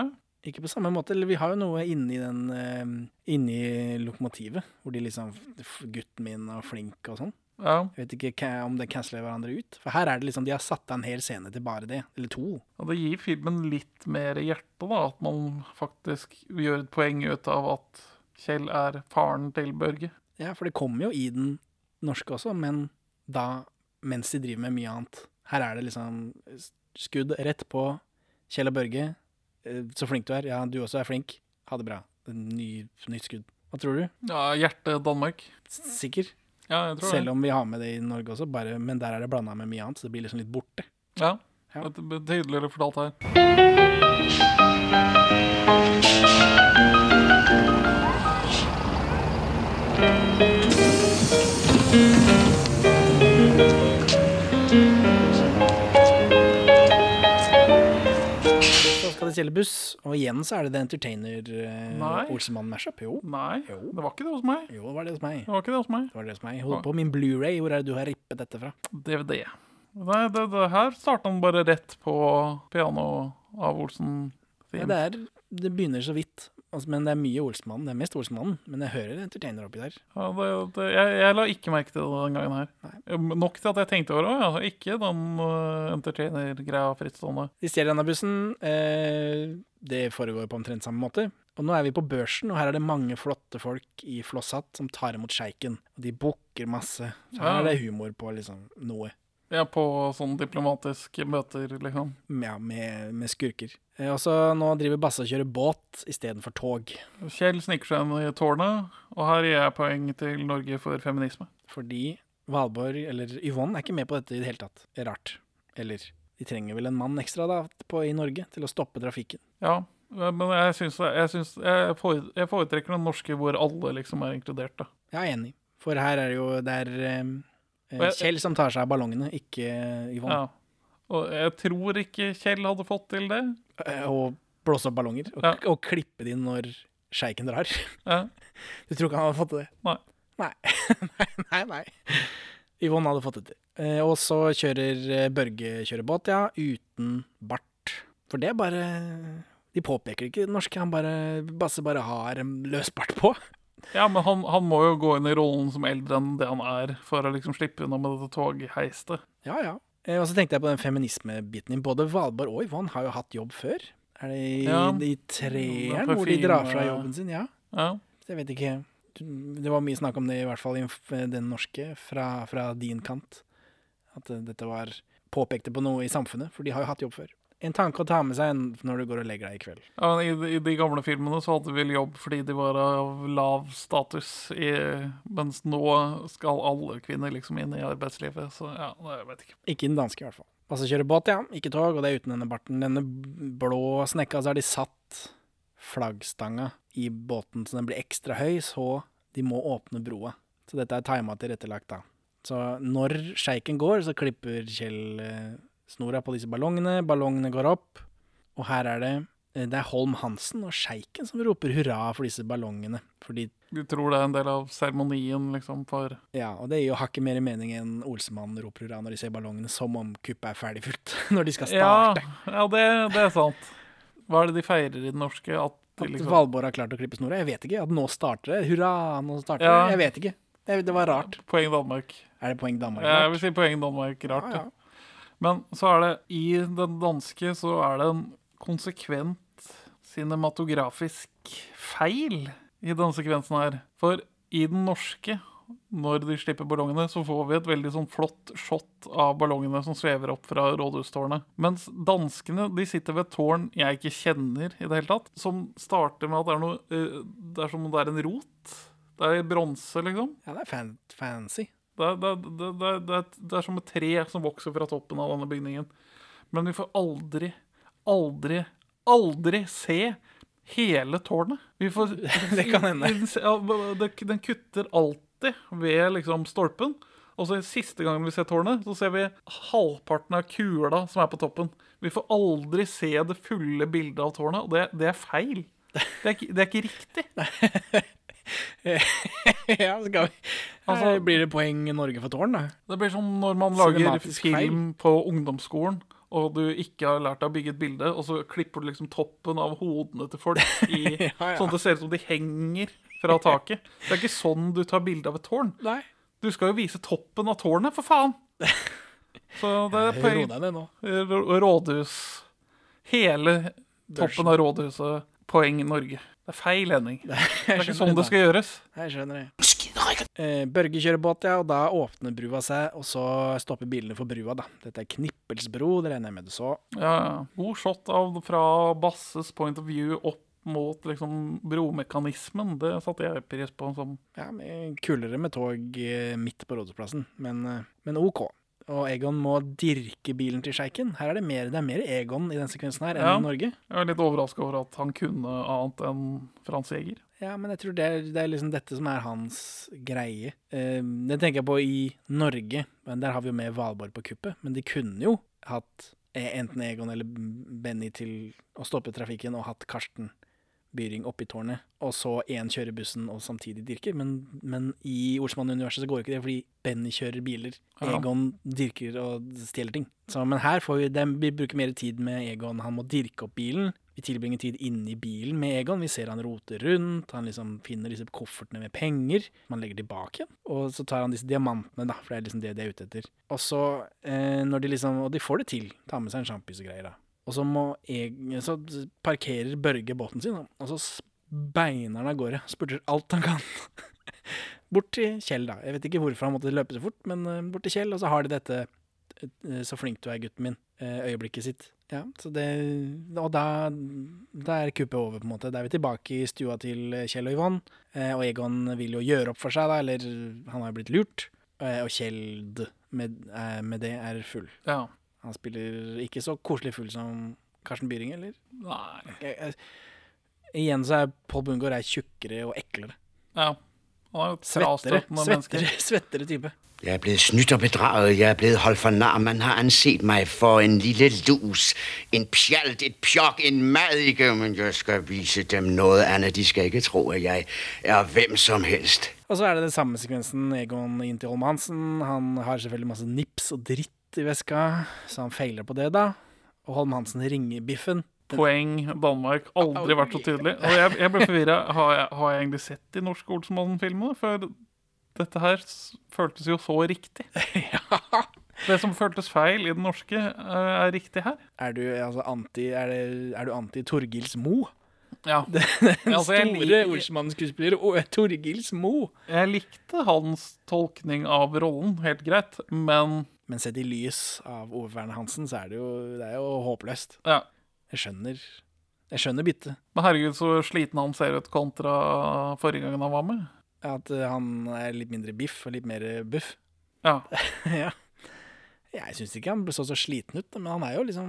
A: Ikke på samme måte. Eller vi har jo noe inni den eh, Inni lokomotivet, hvor de liksom f- 'Gutten min' og 'flink' og sånn.
B: ja.
A: Jeg vet ikke ca- om det canceler hverandre ut. For her er det liksom De har satt av en hel scene til bare det. Eller to.
B: Og det gir filmen litt mer hjerte, da. At man faktisk gjør et poeng ut av at Kjell er faren til Børge.
A: Ja, for det kommer jo i den norske også, men da mens de driver med mye annet. Her er det liksom skudd rett på Kjell og Børge. Eh, Så flink du er. Ja, du også er flink. Ha det bra. Ny, nytt skudd. Hva tror du?
B: Ja, hjerte Danmark.
A: S- Sikker?
B: Ja, jeg tror
A: Selv
B: det.
A: om vi har med det i Norge også, bare, men der er det blanda med mye annet, så det blir liksom litt borte.
B: Ja.
A: Ja.
B: Det er Tydeligere fortalt her.
A: Så skal de stjele buss, og igjen så er det The Entertainer
B: Nei.
A: eh, Olsenmann Mashup. Jo.
B: Nei,
A: Jo.
B: det var ikke det hos meg.
A: jo, det var det hos meg.
B: Det var ikke det hos meg.
A: Det var det hos meg. Hold på min Blu-ray, hvor er det du har rippet dette fra?
B: DVD. Nei, det, det her starta han bare rett på piano av Olsen.
A: Ja, det, er, det begynner så vidt, altså, men det er mye Olsmannen. Det er mest Olsmannen, men jeg hører Entertainer oppi der.
B: Ja, det, det, jeg, jeg la ikke merke til det den gangen her. Nok til at jeg tenkte over det. Ja, ikke den eh, entertainer-greia frittstående.
A: De stjeler denne bussen. Eh, det foregår på omtrent samme måte. Og nå er vi på børsen, og her er det mange flotte folk i flosshatt som tar imot sjeiken. Og de bukker masse. Så her
B: Ja.
A: er det humor på liksom noe.
B: Ja, på sånne diplomatiske møter, liksom.
A: Ja, med, med skurker. Eh, og så nå driver Basse og kjører båt istedenfor tog.
B: Kjell sniker seg inn i tårnet, og her gir jeg poeng til Norge for feminisme.
A: Fordi Valborg, eller Yvonne, er ikke med på dette i det hele tatt. Det er Rart. Eller de trenger vel en mann ekstra da, på, i Norge til å stoppe trafikken.
B: Ja, men jeg syns jeg, syns- jeg fore- jeg foretrekker den norske hvor alle liksom er inkludert, da.
A: Jeg er enig. For her er det jo det er eh,
B: Og jeg-
A: Kjell som tar seg av ballongene, ikke Yvonne.
B: Ja. Og jeg tror ikke Kjell hadde fått til det.
A: Eh, Og blåse opp ballonger. Og,
B: Ja.
A: og klippe de når sjeiken drar. <laughs>
B: Ja.
A: Du tror ikke han hadde fått til det?
B: Nei.
A: Nei, <laughs> nei, nei. nei. Yvonne hadde fått det til. Eh, Og så kjører eh, Børge kjører båt, ja. Uten bart. For det er bare De påpeker ikke det norske. Han bare, Basse bare har en løs bart på.
B: Ja, men han, han må jo gå inn i rollen som eldre enn det han er, for å liksom slippe unna med dette togheistet.
A: Ja, ja. Eh, Og så tenkte jeg på den feminismebiten din. Både Valborg og Yvonne har jo hatt jobb før. Er det i,
B: Ja.
A: i
B: Ja,
A: treeren hvor de drar fra
B: parfyme.
A: jobben sin? Ja.
B: Ja.
A: Så Jeg vet ikke. Du- Det var mye snakk om det, i hvert fall i f- den norske, fra, fra din kant. At eh, dette var påpekte på noe i samfunnet, for de har jo hatt jobb før. En tanke å ta med seg en- når du går og legger deg i kveld.
B: ja men i, de- I de gamle filmene så hadde de vel jobb fordi de var av lav status, i, mens nå skal alle kvinner liksom inn i arbeidslivet, så ja, nei, jeg vet ikke.
A: Ikke den danske, i hvert fall. Altså kjøre båt, ja. Ikke tog, og det er uten denne barten. Denne b- blå snekka, så har de satt flaggstanga i båten så den blir ekstra høy, så de må åpne broa. Så dette er tima tilrettelagt, da. Så når sjeiken går, så klipper Kjell eh, snora på disse ballongene. Ballongene går opp, og her er det eh, det er Holm Hansen og sjeiken som roper hurra for disse ballongene. Fordi,
B: De tror det er en del av seremonien, liksom, for
A: ja, Og det gir jo hakket mer mening enn Olsemann roper hurra når de ser ballongene, som om kuppet er ferdig fullt. <laughs> Når de skal
B: Ja,
A: starte.
B: ja det, det er sant. Hva er det de feirer i det norske? At de
A: At
B: liksom
A: Valborg har klart å klippe snora? Jeg vet ikke. At nå starter det. Hurra, nå starter
B: Ja.
A: det. Jeg vet ikke. Det, det var rart.
B: Poeng Danmark.
A: Er det poeng Danmark?
B: Jeg
A: Rart?
B: vil si poeng Danmark. Rart.
A: Ja, ja.
B: ja. Men så er det i den danske så er det en konsekvent cinematografisk feil i denne sekvensen her. For i den norske, når de slipper ballongene, så får vi et veldig sånn flott shot av ballongene som svever opp fra rådhustårnet. Mens danskene de sitter ved et tårn jeg ikke kjenner i det hele tatt, som starter med at det er noe eh, Det er som om det er en rot. Det er i bronse, liksom.
A: Ja, det er fan, fancy. <laughs>
B: Det er, det, er- det, er- det, er- det, er- det er som et tre som vokser fra toppen av denne bygningen. Men vi får aldri, aldri, aldri se hele tårnet. Vi får,
A: <laughs> Det kan hende.
B: Ja, det- Den kutter alltid ved liksom stolpen. Og så siste gangen vi ser tårnet, så ser vi halvparten av kula som er på toppen. Vi får aldri se det fulle bildet av tårnet, og det, det er feil. Det er, ikke- det er ikke riktig.
A: ja, skal vi. Altså,
B: Altså-
A: blir det poeng Norge for tårn, da?
B: Det blir som når man lager
A: Cinematisk feil.
B: film på ungdomsskolen, og du ikke har lært deg å bygge et bilde, og så klipper du liksom toppen av hodene til
A: <laughs>
B: folk, i,
A: ja.
B: sånn at det ser ut som de henger fra taket. Det er ikke sånn du tar bilde av et tårn.
A: Nei.
B: Du skal jo vise toppen av tårnet, for faen! Så det er
A: Ro
B: poeng.
A: deg ned nå.
B: Rå- Rådhus. Hele toppen av rådhuset. Poeng Norge. Det er feil, Henning. Det er ikke sånn det skal gjøres.
A: Jeg skjønner det. Eh, Børge kjører båt, ja, og da åpner brua seg, og så stopper bilene for brua, da. Dette er Knippelsbro, det regner jeg med du så.
B: Ja, ja. god shot av, fra Basses point of view opp mot liksom bromekanismen. Det satte jeg pris på. Som.
A: Ja, men kulere med tog eh, midt på rådhusplassen, men, eh, men OK. Og Egon må dirke bilen til sjeiken. Her er det mer, det er mer Egon i denne sekvensen her enn
B: Ja.
A: i Norge.
B: Jeg er litt overraska over at han kunne annet enn Frans Jæger.
A: Ja, men jeg tror det er, det er liksom dette som er hans greie. Eh, det tenker jeg på i Norge, men der har vi jo med Valborg på kuppet. Men de kunne jo hatt eh, enten Egon eller B- Benny til å stoppe trafikken og hatt Karsten Byring oppi tårnet, og så én kjører bussen og samtidig dirker. Men, men i Olsmann-universet så går ikke det, fordi Benny kjører biler,
B: Ja.
A: Egon dirker og stjeler ting. Så, men her får vi, dem- vi bruker mer tid med Egon. Han må dirke opp bilen. Vi tilbringer tid inni bilen med Egon. Vi ser han roter rundt. Han liksom finner disse koffertene med penger som han legger tilbake igjen. Og så tar han disse diamantene, da, for det er liksom det de er ute etter. Og så, eh, når de liksom Og de får det til. Tar med seg en sjampis og greier, da. Og så, må jeg, så parkerer Børge båten sin, da. og så s- beiner han av gårde. Spurter alt han kan. <laughs> Bort til Kjell, da. Jeg vet ikke hvorfor han måtte løpe så fort, men eh, bort til Kjell, og så har de dette eh, 'Så flink du er, gutten min', eh, øyeblikket sitt. Ja, så det, Og da, da er kuppet over, på en måte. Da er vi tilbake i stua til eh, Kjell og Yvonne. Eh, Og Egon vil jo gjøre opp for seg, da, eller han har jo blitt lurt. Eh, Og Kjell d- med, eh, med det er full.
B: Ja.
A: Han spiller ikke så koselig full som Karsten Byring, eller?
B: Nei.
A: Jeg, jeg, igjen så er Pål Bungård er tjukkere og eklere.
B: Ja. Han er jo et
A: Svettere,
B: frastøtende menneske.
A: svettere, <laughs> svettere type.
J: Jeg er blevet snydt og bedraget. Jeg er blevet holdt for nar. Man har anset mig for en lille lus. En pjalt, et pjok, en madike. Men jeg skal vise dem noget andet. De skal ikke tro, at jeg er hvem som helst.
A: Og så er det den samme sekvensen Egon inn til Holm Hansen. Han har selvfølgelig masse nips og dritt i veska, så han feiler på det, da. Og Holm Hansen ringer Biffen.
B: Poeng Danmark. Aldri vært så tydelig. Og jeg, jeg ble forvirra. Har, jeg- har jeg egentlig sett de norske Olsenmannen-filmene? For dette her s- føltes jo så <laughs> riktig. Det som føltes feil i den norske, eh, er riktig her.
A: Er du altså anti Er, det, er du anti Torgils Mo? <laughs>
B: Ja. Altså, jeg
A: Store
B: liker-
A: Olsmann-skuespiller og Torgils Mo.
B: Jeg likte hans tolkning av rollen helt greit, men
A: Men sett i lys av Ove Werner Hansen, så er det jo, det er jo håpløst.
B: ja.
A: Jeg skjønner Jeg skjønner byttet.
B: Men herregud, så sliten han ser ut kontra forrige gangen han var med.
A: At eh, han er litt mindre biff og litt mer eh, buff. <laughs>
B: Ja.
A: ja. Jeg syns ikke han så så sliten ut, men han er jo liksom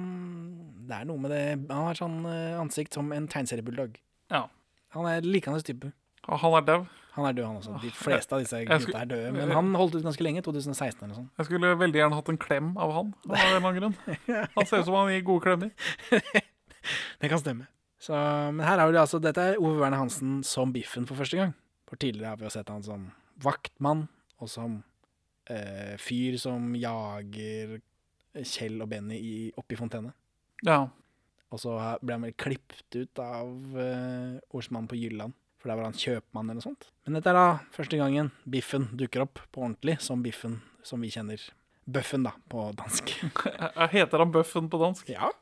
A: Det er noe med det Han har sånn eh, ansikt som en tegneseriebulldog.
B: ja.
A: Han er likende type.
B: Og Han er dau.
A: Han er død, han også. De fleste av disse
B: jeg skulle-
A: gutta er døde. Men han holdt ut ganske lenge. 2016 eller noe sånt.
B: Jeg skulle veldig gjerne hatt en klem av han. av en eller annen grunn. Han ser ut som han gir gode klemmer.
A: Det kan stemme. Så, men her har vi det altså Dette er Ove Werner Hansen som Biffen for første gang. For tidligere har vi jo sett han som vaktmann, og som eh, fyr som jager Kjell og Benny i, oppi fontene.
B: Ja.
A: Og så ble han vel klippet ut av eh, ordsmannen på Jylland, for der var han kjøpmann eller noe sånt. Men dette er da første gangen Biffen dukker opp på ordentlig som Biffen som vi kjenner. Bøffen, da, på dansk.
B: Jeg heter han Bøffen på dansk?
A: Ja. <laughs>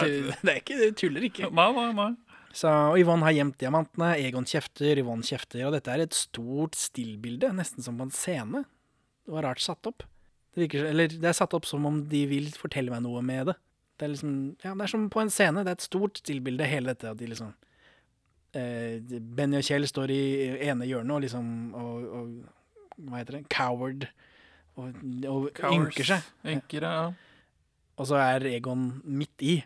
A: du, det er ikke, du tuller ikke.
B: Nei, nei, nei.
A: Så og Yvonne har gjemt diamantene, Egon kjefter, Yvonne kjefter, og dette er et stort stillbilde, nesten som på en scene. Det var rart satt opp. Det virker, eller det er satt opp som om de vil fortelle meg noe med det. Det er liksom, ja, det er som på en scene, det er et stort stillbilde, hele dette, at de liksom eh, Benny og Kjell står i ene hjørnet og liksom og, og hva heter det, coward, og, og ynker seg.
B: Ynker, ja.
A: Og så er Egon midt i,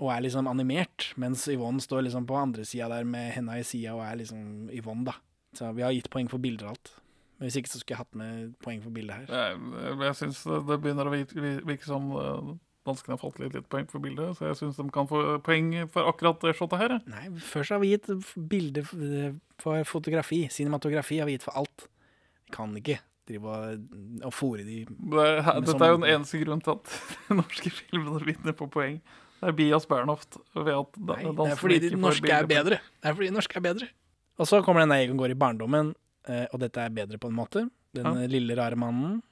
A: og er liksom animert, mens Yvonne står liksom på andre sida der med henda i sida og er liksom Yvonne, da. Så vi har gitt poeng for bilder og alt. Men hvis ikke så skulle jeg hatt med poeng for bildet her.
B: Jeg, jeg syns det, det begynner å virke, virke som eh, danskene har fått litt, litt poeng for bildet, så jeg syns de kan få poeng for akkurat det shotet her. jeg.
A: Nei, først har vi gitt f- bilde f- for fotografi. Cinematografi har vi gitt for alt. Vi kan ikke drive og, og fòre de
B: Det, her
A: Men
B: dette
A: som-
B: er jo den eneste grunnen til at <laughs> de norske filmene vinner på poeng. Det er Bias Bernhoft ved at da-
A: Nei, det
B: danskene
A: er fordi
B: ikke
A: de
B: får
A: norske
B: bilder
A: er
B: på-
A: bedre. Det er fordi de norske er bedre. Og så kommer den der Egon går i barndommen, eh, og dette er bedre på en måte. Den
B: Ja.
A: eh, lille, rare mannen.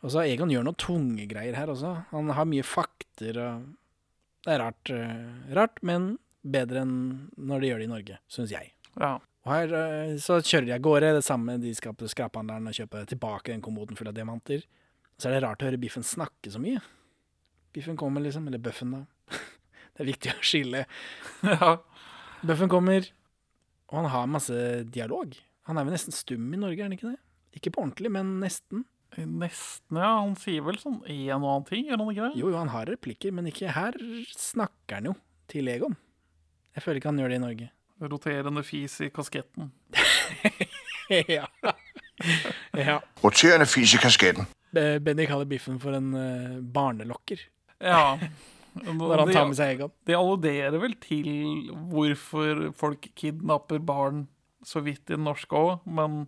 A: Og så Egon gjør noen tungegreier her også. Han har mye fakter og Det er rart, eh, rart men bedre enn når de gjør det i Norge, syns jeg.
B: Ja. <laughs>
A: Og her eh, så kjører de av gårde. Det samme de skal på skraphandleren og kjøpe tilbake den kommoden full av diamanter. Så er det rart å høre Biffen snakke så mye. Biffen kommer, liksom. Eller Bøffen, da. <laughs> Det er viktig å skille
B: ja.
A: Bøffen kommer, og han har masse dialog. Han er vel nesten stum i Norge, er han ikke det? Ikke på ordentlig, men nesten.
B: Nesten, ja. Han sier vel sånn en og annen ting, gjør han ikke det?
A: Jo, jo, han har replikker, men ikke her snakker han jo til Egon. Jeg føler ikke han gjør det i Norge.
B: Roterende fis i kasketten.
A: <laughs> ja. <laughs> ja.
K: Roterende fis i kasketten.
A: Be- Benny kaller Biffen for en eh, barnelokker <laughs>
B: Ja.
A: når han tar med seg Egon.
B: Det alluderer vel til hvorfor folk kidnapper barn så vidt i den norske òg, men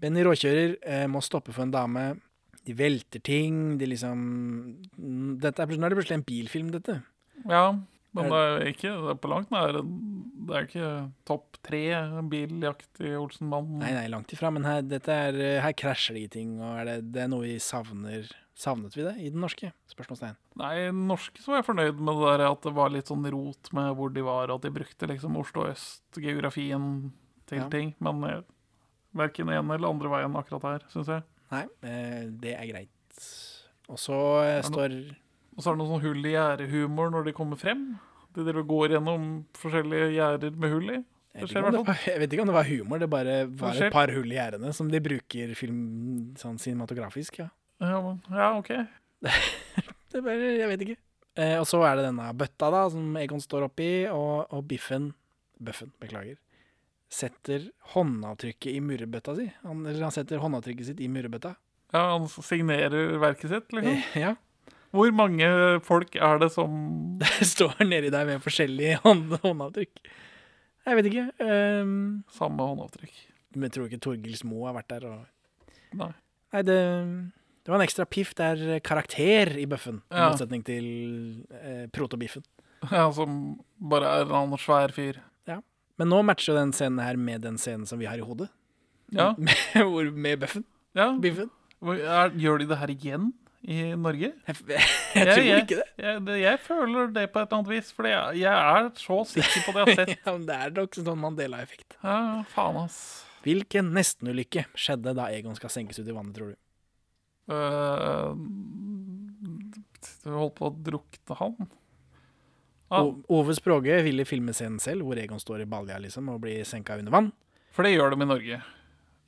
A: Benny råkjører, eh, må stoppe for en dame. De velter ting, de liksom mm, dette er, plutselig- Nå er det plutselig en bilfilm, dette.
B: ja. Men det er jo ikke det er på langt nær en- Det er jo ikke topp tre biljakt i Olsenbanden.
A: Nei, nei, langt ifra. Men her, dette er, eh, her krasjer de i ting, og er det, det er noe vi savner Savnet vi det i den norske? Spørsmålstegn.
B: Nei, i den norske så var jeg fornøyd med det der at det var litt sånn rot med hvor de var, og at de brukte liksom Oslo øst-geografien til
A: Ja.
B: ting. Men eh, verken en eller andre veien akkurat her, syns jeg.
A: Nei, eh, det er greit. Og så eh,
B: det
A: står
B: Og så er det noe sånn hull i gjerdehumor når de kommer frem. De driver og går gjennom forskjellige gjerder med hull i.
A: jeg
B: Det
A: vet,
B: skjer
A: ikke om
B: i hvert
A: det var, <laughs> jeg vet ikke om det var humor, det bare var
B: skjer.
A: et par hull i gjerdene som de bruker film sånn cinematografisk. ja.
B: fall. Ja, men- Ja, OK.
A: Det er bare, jeg vet ikke. Eh, og så er det denne bøtta da, som Egon står oppi, og, og Biffen Bøffen, beklager. Setter håndavtrykket i murrebøtta si. Han, eller han setter håndavtrykket sitt i murrebøtta.
B: Ja, Han signerer verket sitt, liksom.
A: Eh, <laughs> Ja.
B: Hvor mange folk er det som
A: Det <laughs> står nedi der med forskjellige <laughs> hånd håndavtrykk. Jeg vet ikke. ehm,
B: Samme håndavtrykk.
A: men jeg tror ikke Torgils Moe har vært der. Og...
B: Nei. <laughs>
A: Nei, det, det var en ekstra piff. Det er karakter i bøffen, i
B: Ja.
A: motsetning til eh, protobiffen.
B: Ja, Som bare er en annen svær fyr.
A: Men nå matcher jo den scenen her med den scenen som vi har i hodet. <laughs>
B: Ja,
A: Hvor, med bøffen.
B: ja.
A: Biffen.
B: Hvor- Er, gjør de det her igjen i Norge?
A: <laughs> Jeg, f- jeg tror ikke det. <laughs>
B: Jeg, det- jeg føler det på et eller annet vis, for jeg, jeg er så sikker på det jeg
A: <laughs>
B: har sett.
A: Ja, men det er nok sånn Mandela-effekt.
B: Ja, faen, ass.
A: Hvilken nestenulykke skjedde da Egon skal senkes ut i vannet, tror du?
B: Øh, Du holdt på å drukne han. Ja,
A: O- Ove Språge ville filme scenen selv, hvor Egon står i balja liksom, og blir senka under vann.
B: for det gjør de i Norge.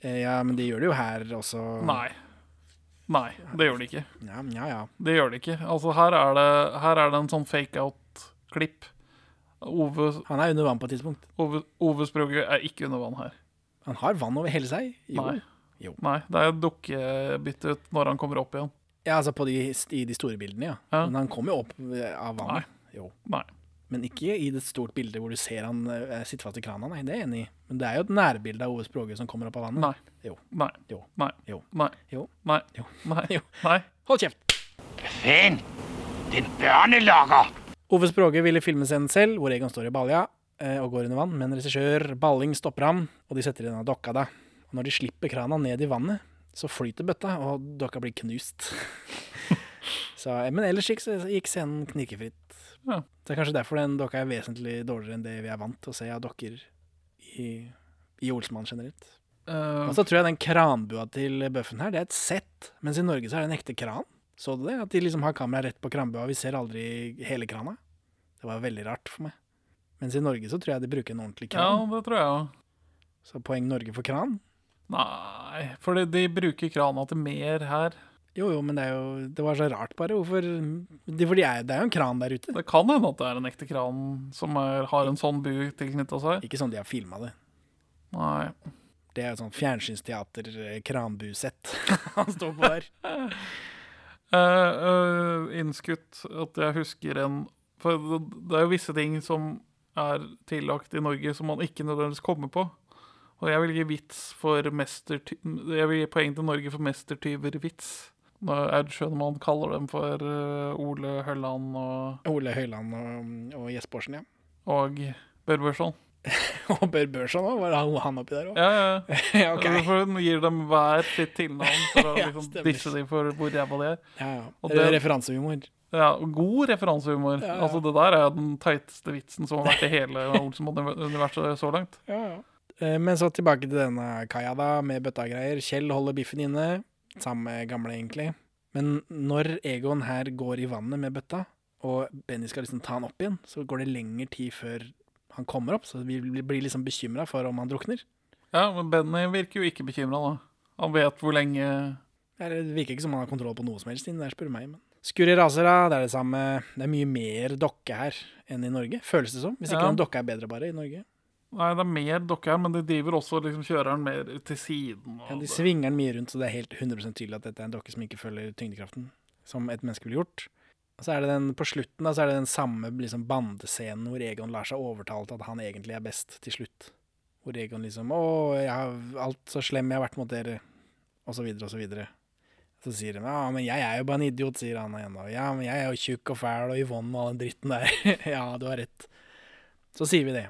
A: Eh, Ja, men de gjør det jo her også.
B: Nei. Nei, det gjør de ikke.
A: Ja, ja, ja.
B: Det gjør de ikke. Altså, her er det, her er det en sånn fake-out-klipp. Ove,
A: Han er under vann på et tidspunkt.
B: Ove, Ove Sprogø er ikke under vann her.
A: Han har vann over hele seg. Jo.
B: Nei.
A: Jo.
B: Nei, det er dukkebytte ut når han kommer opp igjen.
A: Ja, altså på de, i de store bildene, ja.
B: Ja.
A: Men han kommer jo opp eh, av vannet. Jo.
B: Nei.
A: Men ikke i det stort bildet hvor du ser han eh, sitter fast i krana, nei, det er jeg enig i. Men det er jo et nærbilde av Ove Språge som kommer opp av vannet.
B: Nei.
A: Jo.
B: Nei.
A: Jo.
B: Nei.
A: Jo.
B: Nei.
A: Jo.
B: Nei.
A: Jo.
B: Nei.
A: <laughs> Jo.
B: Nei.
A: Hold kjeft!
E: Fan, den børnelokker.
A: Ove Språge ville filme scenen selv, hvor Egon står i balja eh, og går under vann, men regissør Balling stopper ham, og de setter inn av dokka da. Og når de slipper krana ned i vannet, så flyter bøtta, og dokka blir knust. <laughs> så, eh, men ellers gikk, gikk scenen knirkefritt.
B: Ja.
A: Det er kanskje derfor den dokka er vesentlig dårligere enn det vi er vant til å se av dokker i, i Olsmann generelt.
B: Eh,
A: Og så tror jeg den kranbua til Bøffen her, det er et sett, mens i Norge så er det en ekte kran. Så du det? At de liksom har kameraet rett på kranbua, vi ser aldri hele krana. Det var veldig rart for meg. Mens i Norge så tror jeg de bruker en ordentlig
B: ja,
A: kran.
B: det tror jeg òg.
A: Så poeng Norge for kran.
B: Nei, for de, de bruker krana til mer her.
A: Jo jo, men det er jo Det var så rart, bare. Hvorfor det, For de er, det er jo en kran der ute.
B: Det kan hende at det er en ekte kran som er, har en sånn bu tilknytta seg.
A: Ikke sånn de har filma det.
B: Nei.
A: Det er jo sånn eh, fjernsynsteater-kranbusett <laughs> han står på der.
B: Eh, eh, innskutt at jeg husker en For det, det er jo visse ting som er tillagt i Norge som man ikke nødvendigvis kommer på. Og jeg vil gi vits for mesterty... Jeg vil gi poeng til Norge for mestertyvervits. Når Aud Schønemann kaller dem for eh, Ole Hølland og,
A: <laughs> Ole Høiland og, og Jespersen, ja. <laughs>
B: og Børbørsson.
A: Og Bør Børson òg, var han- han oppi der òg?
B: Ja, ja.
A: Ja, <laughs> ok.
B: Okay. For hun gir dem hver sitt tilnavn for å
A: <laughs> Ja,
B: liksom
A: stemmer.
B: disse dem for hvor ræva de er.
A: Ja, ja.
B: Og
A: Det er
B: det-
A: referansehumor.
B: Ja, og god referansehumor.
A: Ja, ja.
B: Altså, det der er den teiteste vitsen som har vært i
A: <laughs>
B: hele Olsenband-universet så langt.
A: Ja, ja. Eh, Men så tilbake til denne kaia, da, med bøtta og greier. Kjell holder biffen inne. Samme gamle, egentlig. Men når Egon her går i vannet med bøtta, og Benny skal liksom ta han opp igjen, så går det lengre tid før han kommer opp, så vi blir liksom bekymra for om han drukner.
B: Ja, men Benny virker jo ikke bekymra, da. Han vet hvor lenge
A: Det er- det virker ikke som han har kontroll på noe som helst inni der, spør du meg. Men. Skurri raser, da. Det er det samme. Det er mye mer dokke her enn i Norge, føles det som. Hvis ikke
B: Ja.
A: den dokka er bedre, bare, i Norge.
B: Nei, det er mer dokker her, men de driver også og liksom kjører den mer til siden. Og
A: Ja, de svinger den mye rundt, så det er helt 100 tydelig at dette er en dokke som ikke følger tyngdekraften, som et menneske ville gjort. Og så er det den, På slutten da, så er det den samme liksom, bandescenen hvor Egon lar seg overtale til at han egentlig er best, til slutt. Hvor Egon liksom 'Å, jeg har alt så slem jeg har vært mot dere', og så videre og så videre. Så sier han 'Ja, men jeg er jo bare en idiot', sier han igjen. Og 'Ja, men jeg er jo tjukk og fæl og Yvonne og all den dritten der'. <laughs> 'Ja, du har rett'. Så sier vi det,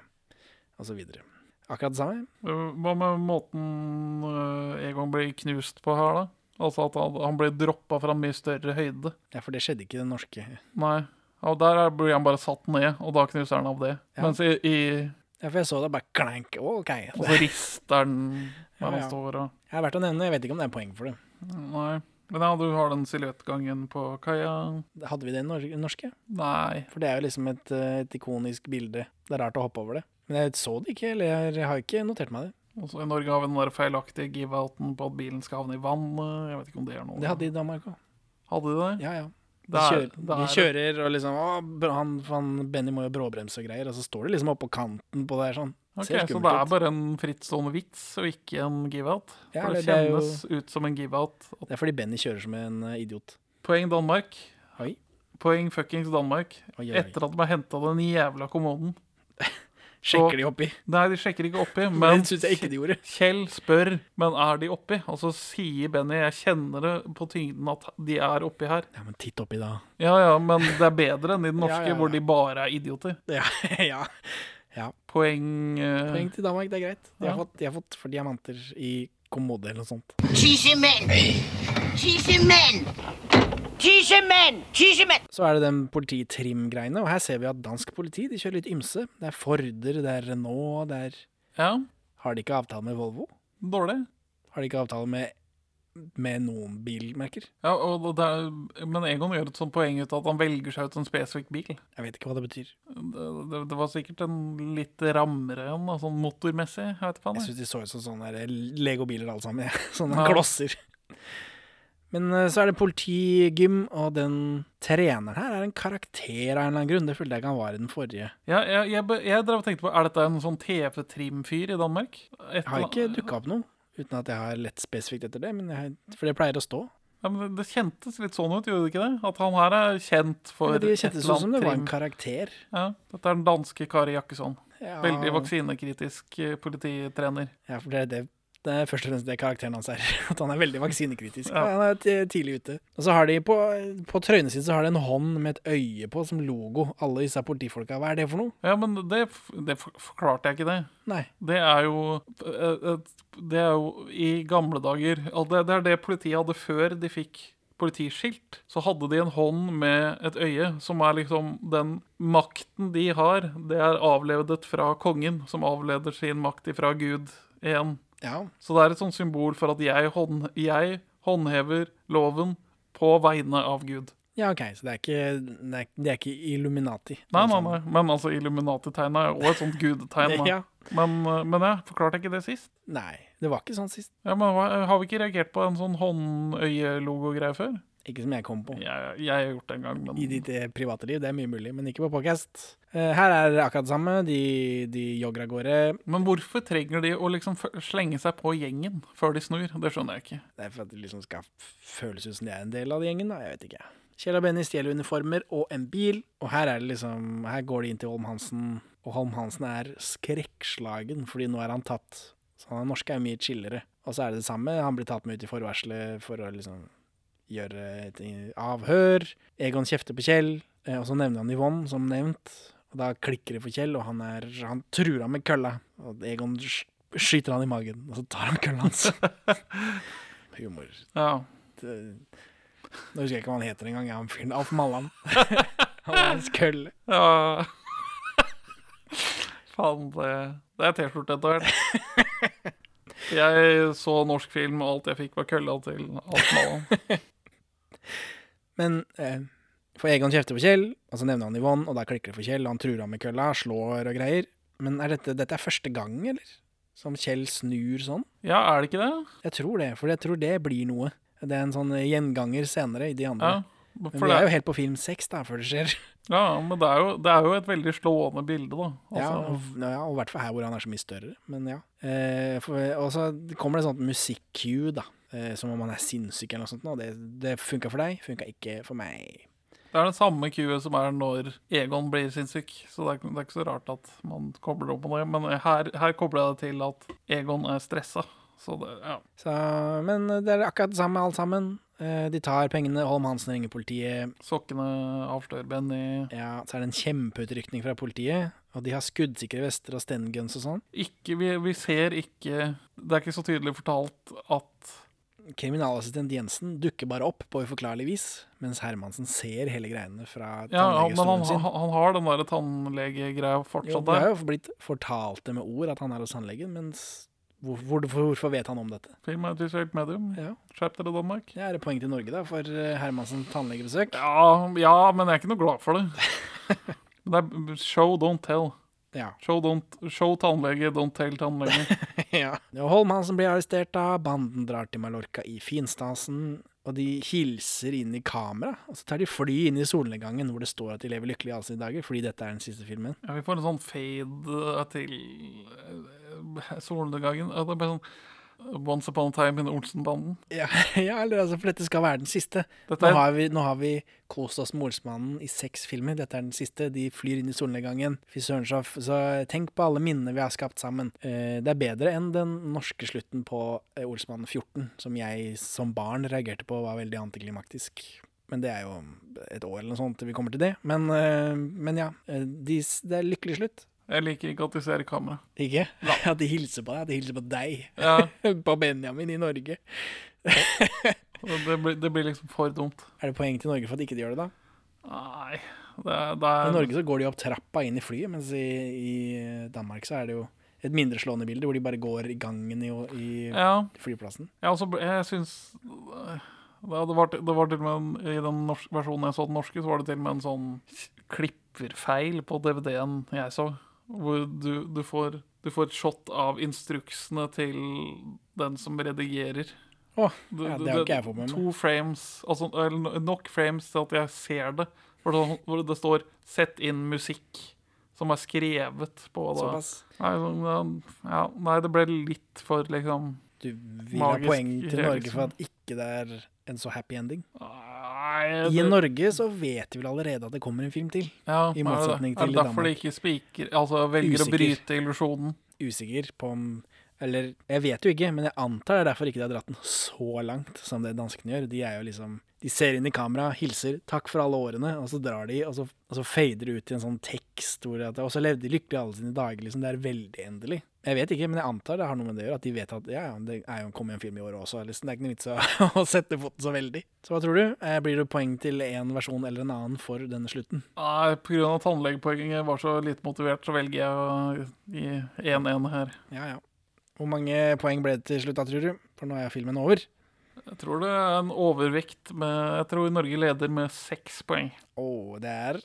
A: og så videre. Akkurat det samme.
B: Øh, Hva med måten øh, Egon blir knust på her, da? Altså at han, han blir droppa fra en mye større høyde.
A: Ja, for det skjedde ikke i den norske
B: Nei. Og der er- blir han bare satt ned, og da knuser han av det. Mens i, i
A: Ja, for jeg så det bare klank. Å, OK.
B: Og så rister den der
A: <laughs> Ja,
B: han
A: ja.
B: står og
A: Jeg har vært å nevne, jeg vet ikke om det er poeng for det.
B: Nei. Men ja, du har den silhuettgangen på kaia.
A: Hadde vi det i nor norske?
B: Nei.
A: For det er jo liksom et, eh, et ikonisk bilde. Det er rart å hoppe over det. Men jeg så det ikke, eller jeg har- jeg har ikke notert meg det.
B: Også I Norge har vi den der feilaktige give-outen på at bilen skal havne i vannet. Jeg vet ikke om det er noe
A: Det hadde de i Danmark òg.
B: Hadde de det?
A: Ja, ja. De
B: Det er-
A: kjører,
B: det
A: de
B: er-
A: kjører og liksom Å, bra, han, han Benny må jo bråbremse og greier, og så står de liksom oppå kanten på det her sånn.
B: Ok,
A: Ser
B: så det er
A: skummelt ut.
B: bare en frittstående vits og ikke en give-out?
A: Ja,
B: For det
A: eller det er jo-
B: kjennes ut som en give-out.
A: Det er fordi Benny kjører som en eh, idiot.
B: Poeng Danmark.
A: Oi.
B: Poeng fuckings Danmark.
A: Oi, oi, oi.
B: Etter at de har henta den jævla kommoden.
A: Sjekker de <laughs> oppi.
B: Nei, de sjekker ikke oppi, men
A: <laughs> Det syns jeg ikke de gjorde.
B: Kjell spør, men er de oppi? Og så sier Benny, jeg kjenner det på tyngden at de er oppi her.
A: Ja, men titt oppi, da. <laughs>
B: Ja ja, men det er bedre enn i den norske,
A: Ja, ja, ja.
B: hvor de bare er idioter.
A: Ja, ja.
B: Poeng, eh,
A: Poeng til Danmark, det er greit. De har,
B: Ja.
A: fått, de har fått for diamanter i kommode eller noe sånt.
D: Tissemænd! Tissemænd! Tissemænd! Tissemænd!
A: Så er det den polititrim-greiene, og her ser vi at dansk politi de kjører litt ymse. Det er Forder, det er Renault, det er
B: Ja,
A: Har de ikke avtale med Volvo?
B: dårlig.
A: Har de ikke avtale med, med noen bilmerker?
B: Ja, og det er, men Egon gjør et sånt poeng ut av at han velger seg ut en spesifikk bil.
A: Jeg vet ikke hva det betyr.
B: Det, det, det var sikkert en litt rammere en, da, sånn motormessig. Jeg vet faen,
A: Jeg syns
B: jeg.
A: de så ut som sånne der Lego-biler alle sammen. Ja. <laughs> Sånne
B: Ja.
A: klosser. Men eh, så er det politigym, og den treneren her er en karakter av en eller annen grunn. Det følte jeg ikke han var i den forrige.
B: Ja, jeg, jeg, be- jeg drev og tenkte på, er dette en sånn TV-trim-fyr i Danmark?
A: Jeg har ikke dukka opp noe, uten at jeg har lett spesifikt etter det, men jeg, for det pleier å stå.
B: Ja, men det- Det kjentes litt sånn ut, gjorde det ikke det? At han her er kjent for
A: Men det
B: et
A: kjentes
B: eller
A: ut som det
B: annet
A: var en
B: trim.
A: karakter.
B: Ja, Dette er den danske Kari Jakkesson.
A: Ja.
B: Veldig vaksinekritisk eh, polititrener.
A: Ja, for det er, det, det er først og fremst det karakteren hans er. <laughs> At han er veldig vaksinekritisk.
B: Ja.
A: Han er ti- tidlig ute. Og så har de på, på trøyene sine så har de en hånd med et øye på som logo. Alle disse politifolka. Hva er det for noe?
B: Ja, men det, f- det f- forklarte jeg ikke det.
A: Nei.
B: Det er jo eh, et- Det er jo i gamle dager og det, det er det politiet hadde før de fikk politiskilt. Så hadde de en hånd med et øye, som er liksom Den makten de har, det er avledet fra kongen, som avleder sin makt ifra Gud igjen.
A: Ja.
B: Så det er et sånt symbol for at jeg, hånd, jeg håndhever loven på vegne av Gud.
A: ja, OK. Så det er ikke, det er, det er ikke Illuminati.
B: Nei, nei, nei. Men altså, Illuminati-tegnet er jo også et sånt gudetegn. da.
A: Ja.
B: Men, eh, men jeg forklarte ikke det sist.
A: Nei, det var ikke sånn sist.
B: eh, Ja, men hva- Har vi ikke reagert på en sånn håndøyelogo-greie før?
A: Ikke som jeg kom på.
B: Jeg, jeg har gjort det en gang, men
A: I ditt eh, private liv, det er mye mulig, men ikke på podcast. Eh, Her er det akkurat det samme. De, de jogger av gårde.
B: Men hvorfor trenger de å liksom f- slenge seg på gjengen før de snur? Det skjønner jeg ikke.
A: Det er for at det liksom skal f- føles ut som de er en del av gjengen, da. Jeg vet ikke. Kjell og Benny stjeler uniformer og en bil, og her er det liksom Her går de inn til Holm Hansen, og Holm Hansen er skrekkslagen fordi nå er han tatt. Så han er norske er mye chillere. Og så er det det samme, han blir tatt med ut i forvarselet for å liksom gjøre et avhør. Egon kjefter på Kjell, eh, og så nevner han Yvonne, som nevnt. Og da klikker det for Kjell, og han, er, han truer ham med kølla. Og Egon sk- skyter han i magen, og så tar han kølla hans. Humor.
B: Ja.
A: Det, eh, nå husker jeg ikke hva han heter engang. jeg, Han fyren Alf
B: <laughs>
A: Mallan. Han er hans kølle.
B: ja. <laughs> Faen, det, det er T-skjorte etter hvert.
A: <laughs>
B: Jeg så norsk film, og alt jeg fikk, var kølla til alt Mallan.
A: Men eh, for Egon kjefter på Kjell, og så nevner han Yvonne, og da klikker det for Kjell, og han truer ham med kølla, slår og greier. Men er dette, dette er første gang, eller? Som Kjell snur sånn?
B: Ja, er det ikke det?
A: Jeg tror det, for jeg tror det blir noe. Det er en sånn gjenganger senere i de
B: Ja.
A: andre. Men
B: For
A: vi
B: det,
A: er jo helt på film seks da, før det skjer.
B: ja, men det er, jo, det er jo et veldig slående bilde, da.
A: Ja,
B: Altså,
A: og, ja, og i hvert fall her hvor han er så mye større, men ja. Eh, for, og så kommer det et sånt musikk-cue, da. Eh, som om han er sinnssyk eller noe sånt. nå. det, det funka for deg, funka ikke for meg.
B: Det er den samme queue som er når Egon blir sinnssyk, så det er, det er ikke så rart at man kobler opp på det. Men her, her kobler jeg det til at Egon er stressa. Så det, ja.
A: Så, men det er akkurat det samme, alt sammen. Eh, de tar pengene, Holm Hansen ringer politiet.
B: Sokkene avslører Benny.
A: Ja, så er det en kjempeutrykning fra politiet. Og de har skuddsikre vester og stenguns og sånn.
B: Ikke, vi, vi ser ikke Det er ikke så tydelig fortalt at
A: Kriminalassistent Jensen dukker bare opp på uforklarlig vis, mens Hermansen ser hele greiene fra
B: Ja, han- men han,
A: tannlegestolen sin.
B: han, han har den derre tannlegegreia
A: Jo,
B: fortsatt
A: det
B: der.
A: har jo blitt fortalt det med ord at han er hos tannlegen, mens hvor, hvor, hvorfor vet han om dette?
B: Film er et visuelt medium.
A: Ja.
B: Skjerp dere, Danmark.
A: Det er et poeng til Norge, da, for eh, Hermansens tannlegebesøk.
B: Ja, ja, men jeg er ikke noe
A: <laughs>
B: glad for det. Men det er show, don't tell.
A: Ja.
B: Show, don't, show tannlege, don't tell tannlege.
A: ja. Og Holm Hansen blir arrestert, da. Banden drar til Mallorca i finstasen. Og de hilser inn i kamera, og så tar de fly inn i solnedgangen hvor det står at de lever lykkelig i alle sine dager, fordi dette er den siste filmen.
B: Ja, vi får en sånn fade eh, til eh, solnedgangen. Ja, Det er bare sånn Once upon a time in Olsenbanden.
A: Ja, <laughs> ja eller altså, for dette skal være den siste.
B: Dette
A: Nå
B: er,
A: har vi, nå har vi kost oss med Olsmannen i seks filmer. Dette er den siste. De flyr inn i solnedgangen. Fy søren, så så tenk på alle minnene vi har skapt sammen. Eh, Det er bedre enn den norske slutten på eh, Olsmannen 14, som jeg som barn reagerte på var veldig antiklimaktisk. Men det er jo et år eller noe sånt til vi kommer til det. Men, eh, men ja, eh, de, s- det er lykkelig slutt.
B: jeg liker ikke at de ser i kamera.
A: Ikke? <laughs> At de hilser på deg, at de hilser på deg.
B: Ja,
A: <laughs> På Benjamin i Norge.
B: det, det, blir, det blir liksom for dumt.
A: Er det poeng til Norge for at ikke de gjør det, da?
B: Nei, det, er- det
A: I
B: er
A: Norge så går de opp trappa inn i flyet, mens i, i Danmark så er det jo et mindre slående bilde hvor de bare går i gangen i, i
B: Ja,
A: flyplassen.
B: jeg, også, ble- jeg syns eh, det, det, var, til- det var til og med en, I den norske versjonen jeg så den norske, så var det til og med en sånn klipperfeil på DVD-en jeg så. Hvor du, du, får, du får et shot av instruksene til den som redigerer.
A: Å,
B: Du-
A: ja,
B: du-
A: det har ikke jeg fått med meg.
B: To frames, altså eller no- nok frames til at jeg ser det. Hvor det, sånn, hvor det står 'sett inn musikk', som er skrevet på da.
A: Såpass.
B: Nei, sånn, ja, nei, det ble litt for liksom
A: Du vil ha
B: Magisk
A: poeng til Norge
B: liksom.
A: for at ikke det er en så happy ending.
B: Nei
A: I
B: det-
A: Norge så vet de vel allerede at det kommer en film til. i
B: ja, er det det?
A: motsetning til
B: Er
A: i
B: det derfor de
A: Danmark.
B: ikke spiker Altså velger å
A: Usikker.
B: bryte illusjonen?
A: Usikker på om Eller jeg vet jo ikke, men jeg antar det er derfor ikke de har dratt den så langt som det danskene gjør. De er jo liksom De ser inn i kamera, hilser 'takk for alle årene', og så drar de, og så, og så fader det ut i en sånn tekst hvor at, Og så levde de lykkelig alle sine dager, liksom. Det er veldig endelig. Jeg vet ikke, men jeg antar det har noe med det å gjøre, at de vet at ja, ja, det er jo kommer jo en film i år også, liksom. Det er ikke noe vits å, <laughs> å sette foten så veldig. Så hva tror du? Eh, Blir det poeng til en versjon eller en annen for denne slutten?
B: Nei, pga. tannlegepoenget var så lite motivert, så velger jeg å gi 1-1 her.
A: Ja, ja. Hvor mange poeng ble det til slutt, da, tror du? For nå er filmen over.
B: Jeg tror det er en overvekt med Jeg tror Norge leder med seks poeng.
A: Og det er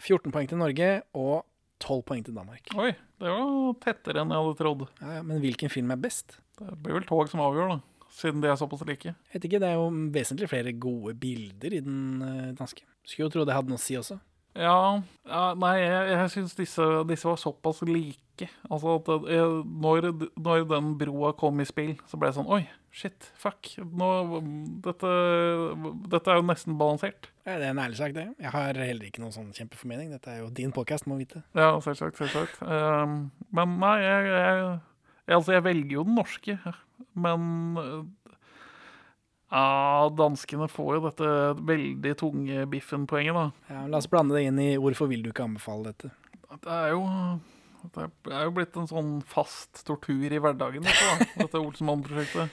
A: 14 poeng til Norge og 12 poeng til Danmark.
B: Oi, det var tettere enn jeg hadde trodd.
A: Ja, ja, men hvilken film er best?
B: Det blir vel tog som avgjør, da. siden de er såpass like.
A: Jeg vet ikke, det er jo vesentlig flere gode bilder i den eh, danske. Skulle jo tro det hadde noe å si også.
B: Ja, ja Nei, jeg, jeg syns disse, disse var såpass like. Altså at eh, når, når den broa kom i spill, så ble det sånn Oi, shit, fuck. Nå, dette, dette er jo nesten balansert.
A: Ja, det er en ærlig sak, det. Jeg har heller ikke noen sånn kjempeformening. Dette er jo din podkast, må vite.
B: Ja, selvsagt. selvsagt. Ehm, men nei, jeg, jeg, jeg, altså, jeg velger jo den norske. Men eh, ja, danskene får jo dette veldig tunge biffen-poenget, da.
A: Ja, la oss blande det inn i 'Hvorfor vil du ikke anbefale dette'?
B: Det er jo det er jo blitt en sånn fast tortur i hverdagen, dette, da, dette Olsenmann-prosjektet.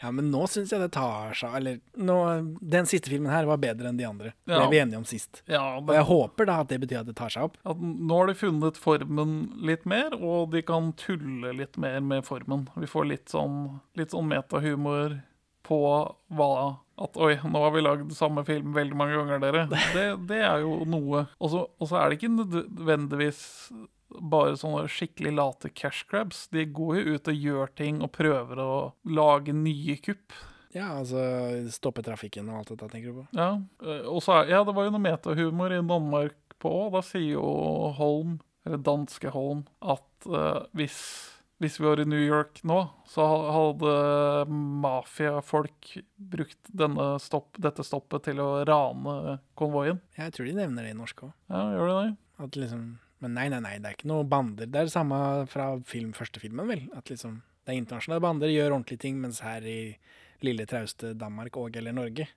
A: Ja, men nå syns jeg det tar seg Eller nå, den siste filmen her var bedre enn de andre. Det
B: Ja.
A: ble vi enige om sist.
B: Ja,
A: Og
B: det,
A: jeg håper da at det betyr at det tar seg opp.
B: at nå har de funnet formen litt mer, og de kan tulle litt mer med formen. Vi får litt sånn, litt sånn metahumor på hva At oi, nå har vi lagd samme film veldig mange ganger, dere. Det, det er jo noe. Og så og så er det ikke nødvendigvis bare sånne skikkelig late cash grabs. De går jo ut og gjør ting og prøver å lage nye kupp.
A: Ja, altså stoppe trafikken og alt dette, tenker du på.
B: Ja, eh, og så er, ja, det var jo noe metahumor i Danmark på òg. Da sier jo Holm, eller danske Holm, at eh, hvis, hvis vi var i New York nå, så ha- hadde mafiafolk brukt denne stopp, dette stoppet til å rane konvoien.
A: Jeg tror de nevner det i norsk òg.
B: Ja, gjør de det?
A: At liksom Men nei, nei, nei, det er ikke noe bander. Det er det samme fra film, første filmen, vel? At liksom det er internasjonale bander, gjør ordentlige ting, mens her i lille, trauste Danmark og eller Norge,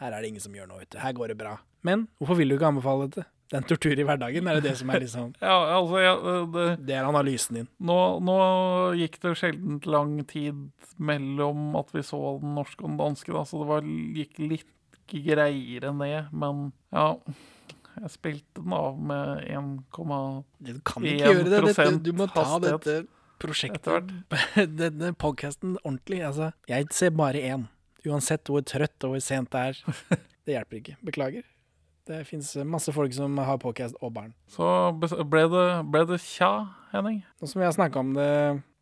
A: her er det ingen som gjør noe, vet du. Her går det bra. Men hvorfor vil du ikke anbefale dette? Det er en tortur i hverdagen, er det det som er liksom
B: Ja, altså jeg, eh, det,
A: Det er analysen din.
B: nå, nå gikk det sjelden lang tid mellom at vi så den norske og den danske, da, så det var, gikk litt greiere ned. Men ja, jeg spilte den av med 1,1
A: Du kan ikke gjøre det. Dette, du må ta
B: hastighet
A: dette
B: etter hvert.
A: prosjektet, <laughs> denne podkasten, ordentlig. Altså, jeg ser bare én. Uansett hvor trøtt og hvor sent det
B: <laughs>
A: er. Det hjelper ikke. Beklager. Det fins masse folk som har podkast og barn.
B: Så bes- ble det, ble det tja, Henning.
A: Nå som vi har snakka om det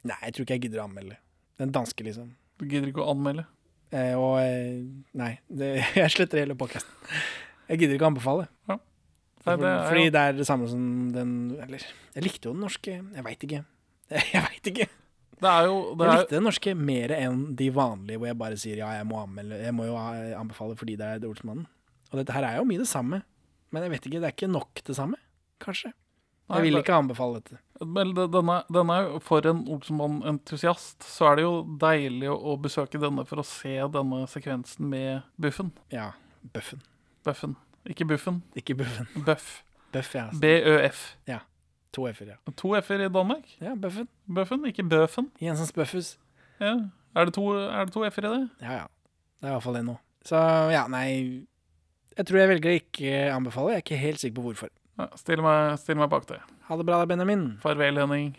A: Nei, jeg tror ikke jeg gidder å anmelde. Den danske, liksom.
B: Du gidder ikke å anmelde.
A: Eh, og eh, Nei, det, <laughs> jeg sletter hele podkasten. Jeg gidder ikke å anbefale.
B: Nei,
A: For,
B: det er
A: fordi
B: jo-
A: det er det samme som den Eller, jeg likte jo den norske. Jeg veit ikke. <laughs> Jeg veit ikke.
B: det er jo det
A: Jeg
B: er,
A: likte den norske mer enn de vanlige, hvor jeg bare sier ja, jeg må, anmelde, jeg må jo eh, anbefale fordi det er Olsmannen. Og dette her er jo mye det samme, men jeg vet ikke, det er ikke nok det samme, kanskje.
B: Nei,
A: Jeg vil
B: det-
A: ikke anbefale dette.
B: Men det- denne, denne er jo for en Olsenmann-entusiast, så er det jo deilig å, å besøke denne for å se denne sekvensen med Buffen.
A: Ja, Bøffen.
B: Bøffen. Ikke Buffen,
A: Ikke Buffen.
B: Bøff.
A: Bøff, ja.
B: B-Ø-F.
A: To f-er, ja.
B: To f-er i Danmark.
A: Ja, Bøffen.
B: Bøffen, ikke Bøffen.
A: Jensens Bøffhus.
B: Ja. Er det to, er det to f-er i det?
A: Ja, ja. Det er i hvert fall det nå. Så ja, nei Jeg tror jeg velger å ikke anbefale, jeg er ikke helt sikker på hvorfor.
B: Ja, still, meg, still meg bak det.
A: Ha det bra da, Benjamin.
B: Farvel, Henning.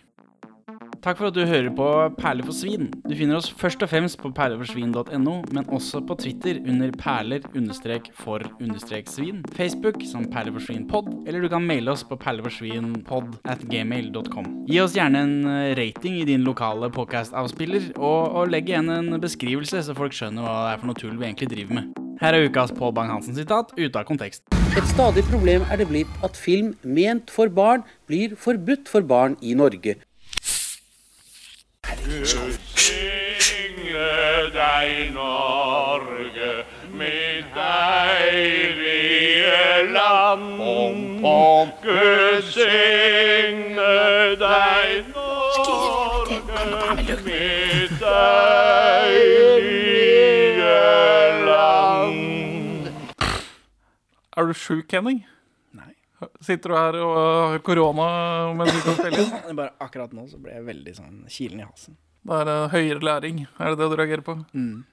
K: Takk for at du hører på Perler for svin. Du finner oss først og fremst på perleforsvin.no, men også på Twitter under perler-for-svin, Facebook som perleforsvinpod, eller du kan maile oss på perleforsvinpod at gmail.com. Gi oss gjerne en eh, rating i din lokale podcast-avspiller, og, og legg igjen en beskrivelse, så folk skjønner hva det er for noe tull vi egentlig driver med. Her er ukas Pål Bang-Hansen-sitat ute av kontekst.
L: Et stadig problem er det blitt at film ment for barn blir forbudt for barn i Norge.
M: Signe deg, Norge, mitt deilige land. Gud signe deg, Norge, mitt deilige land.
B: Er du sjuk, Henning? Nei. Sitter du her og øh, har korona mens du kan spille inn?
A: Bare akkurat nå så ble jeg veldig sånn kilen i halsen.
B: Det er øh, høyere læring, er det det du reagerer på?
A: Mm.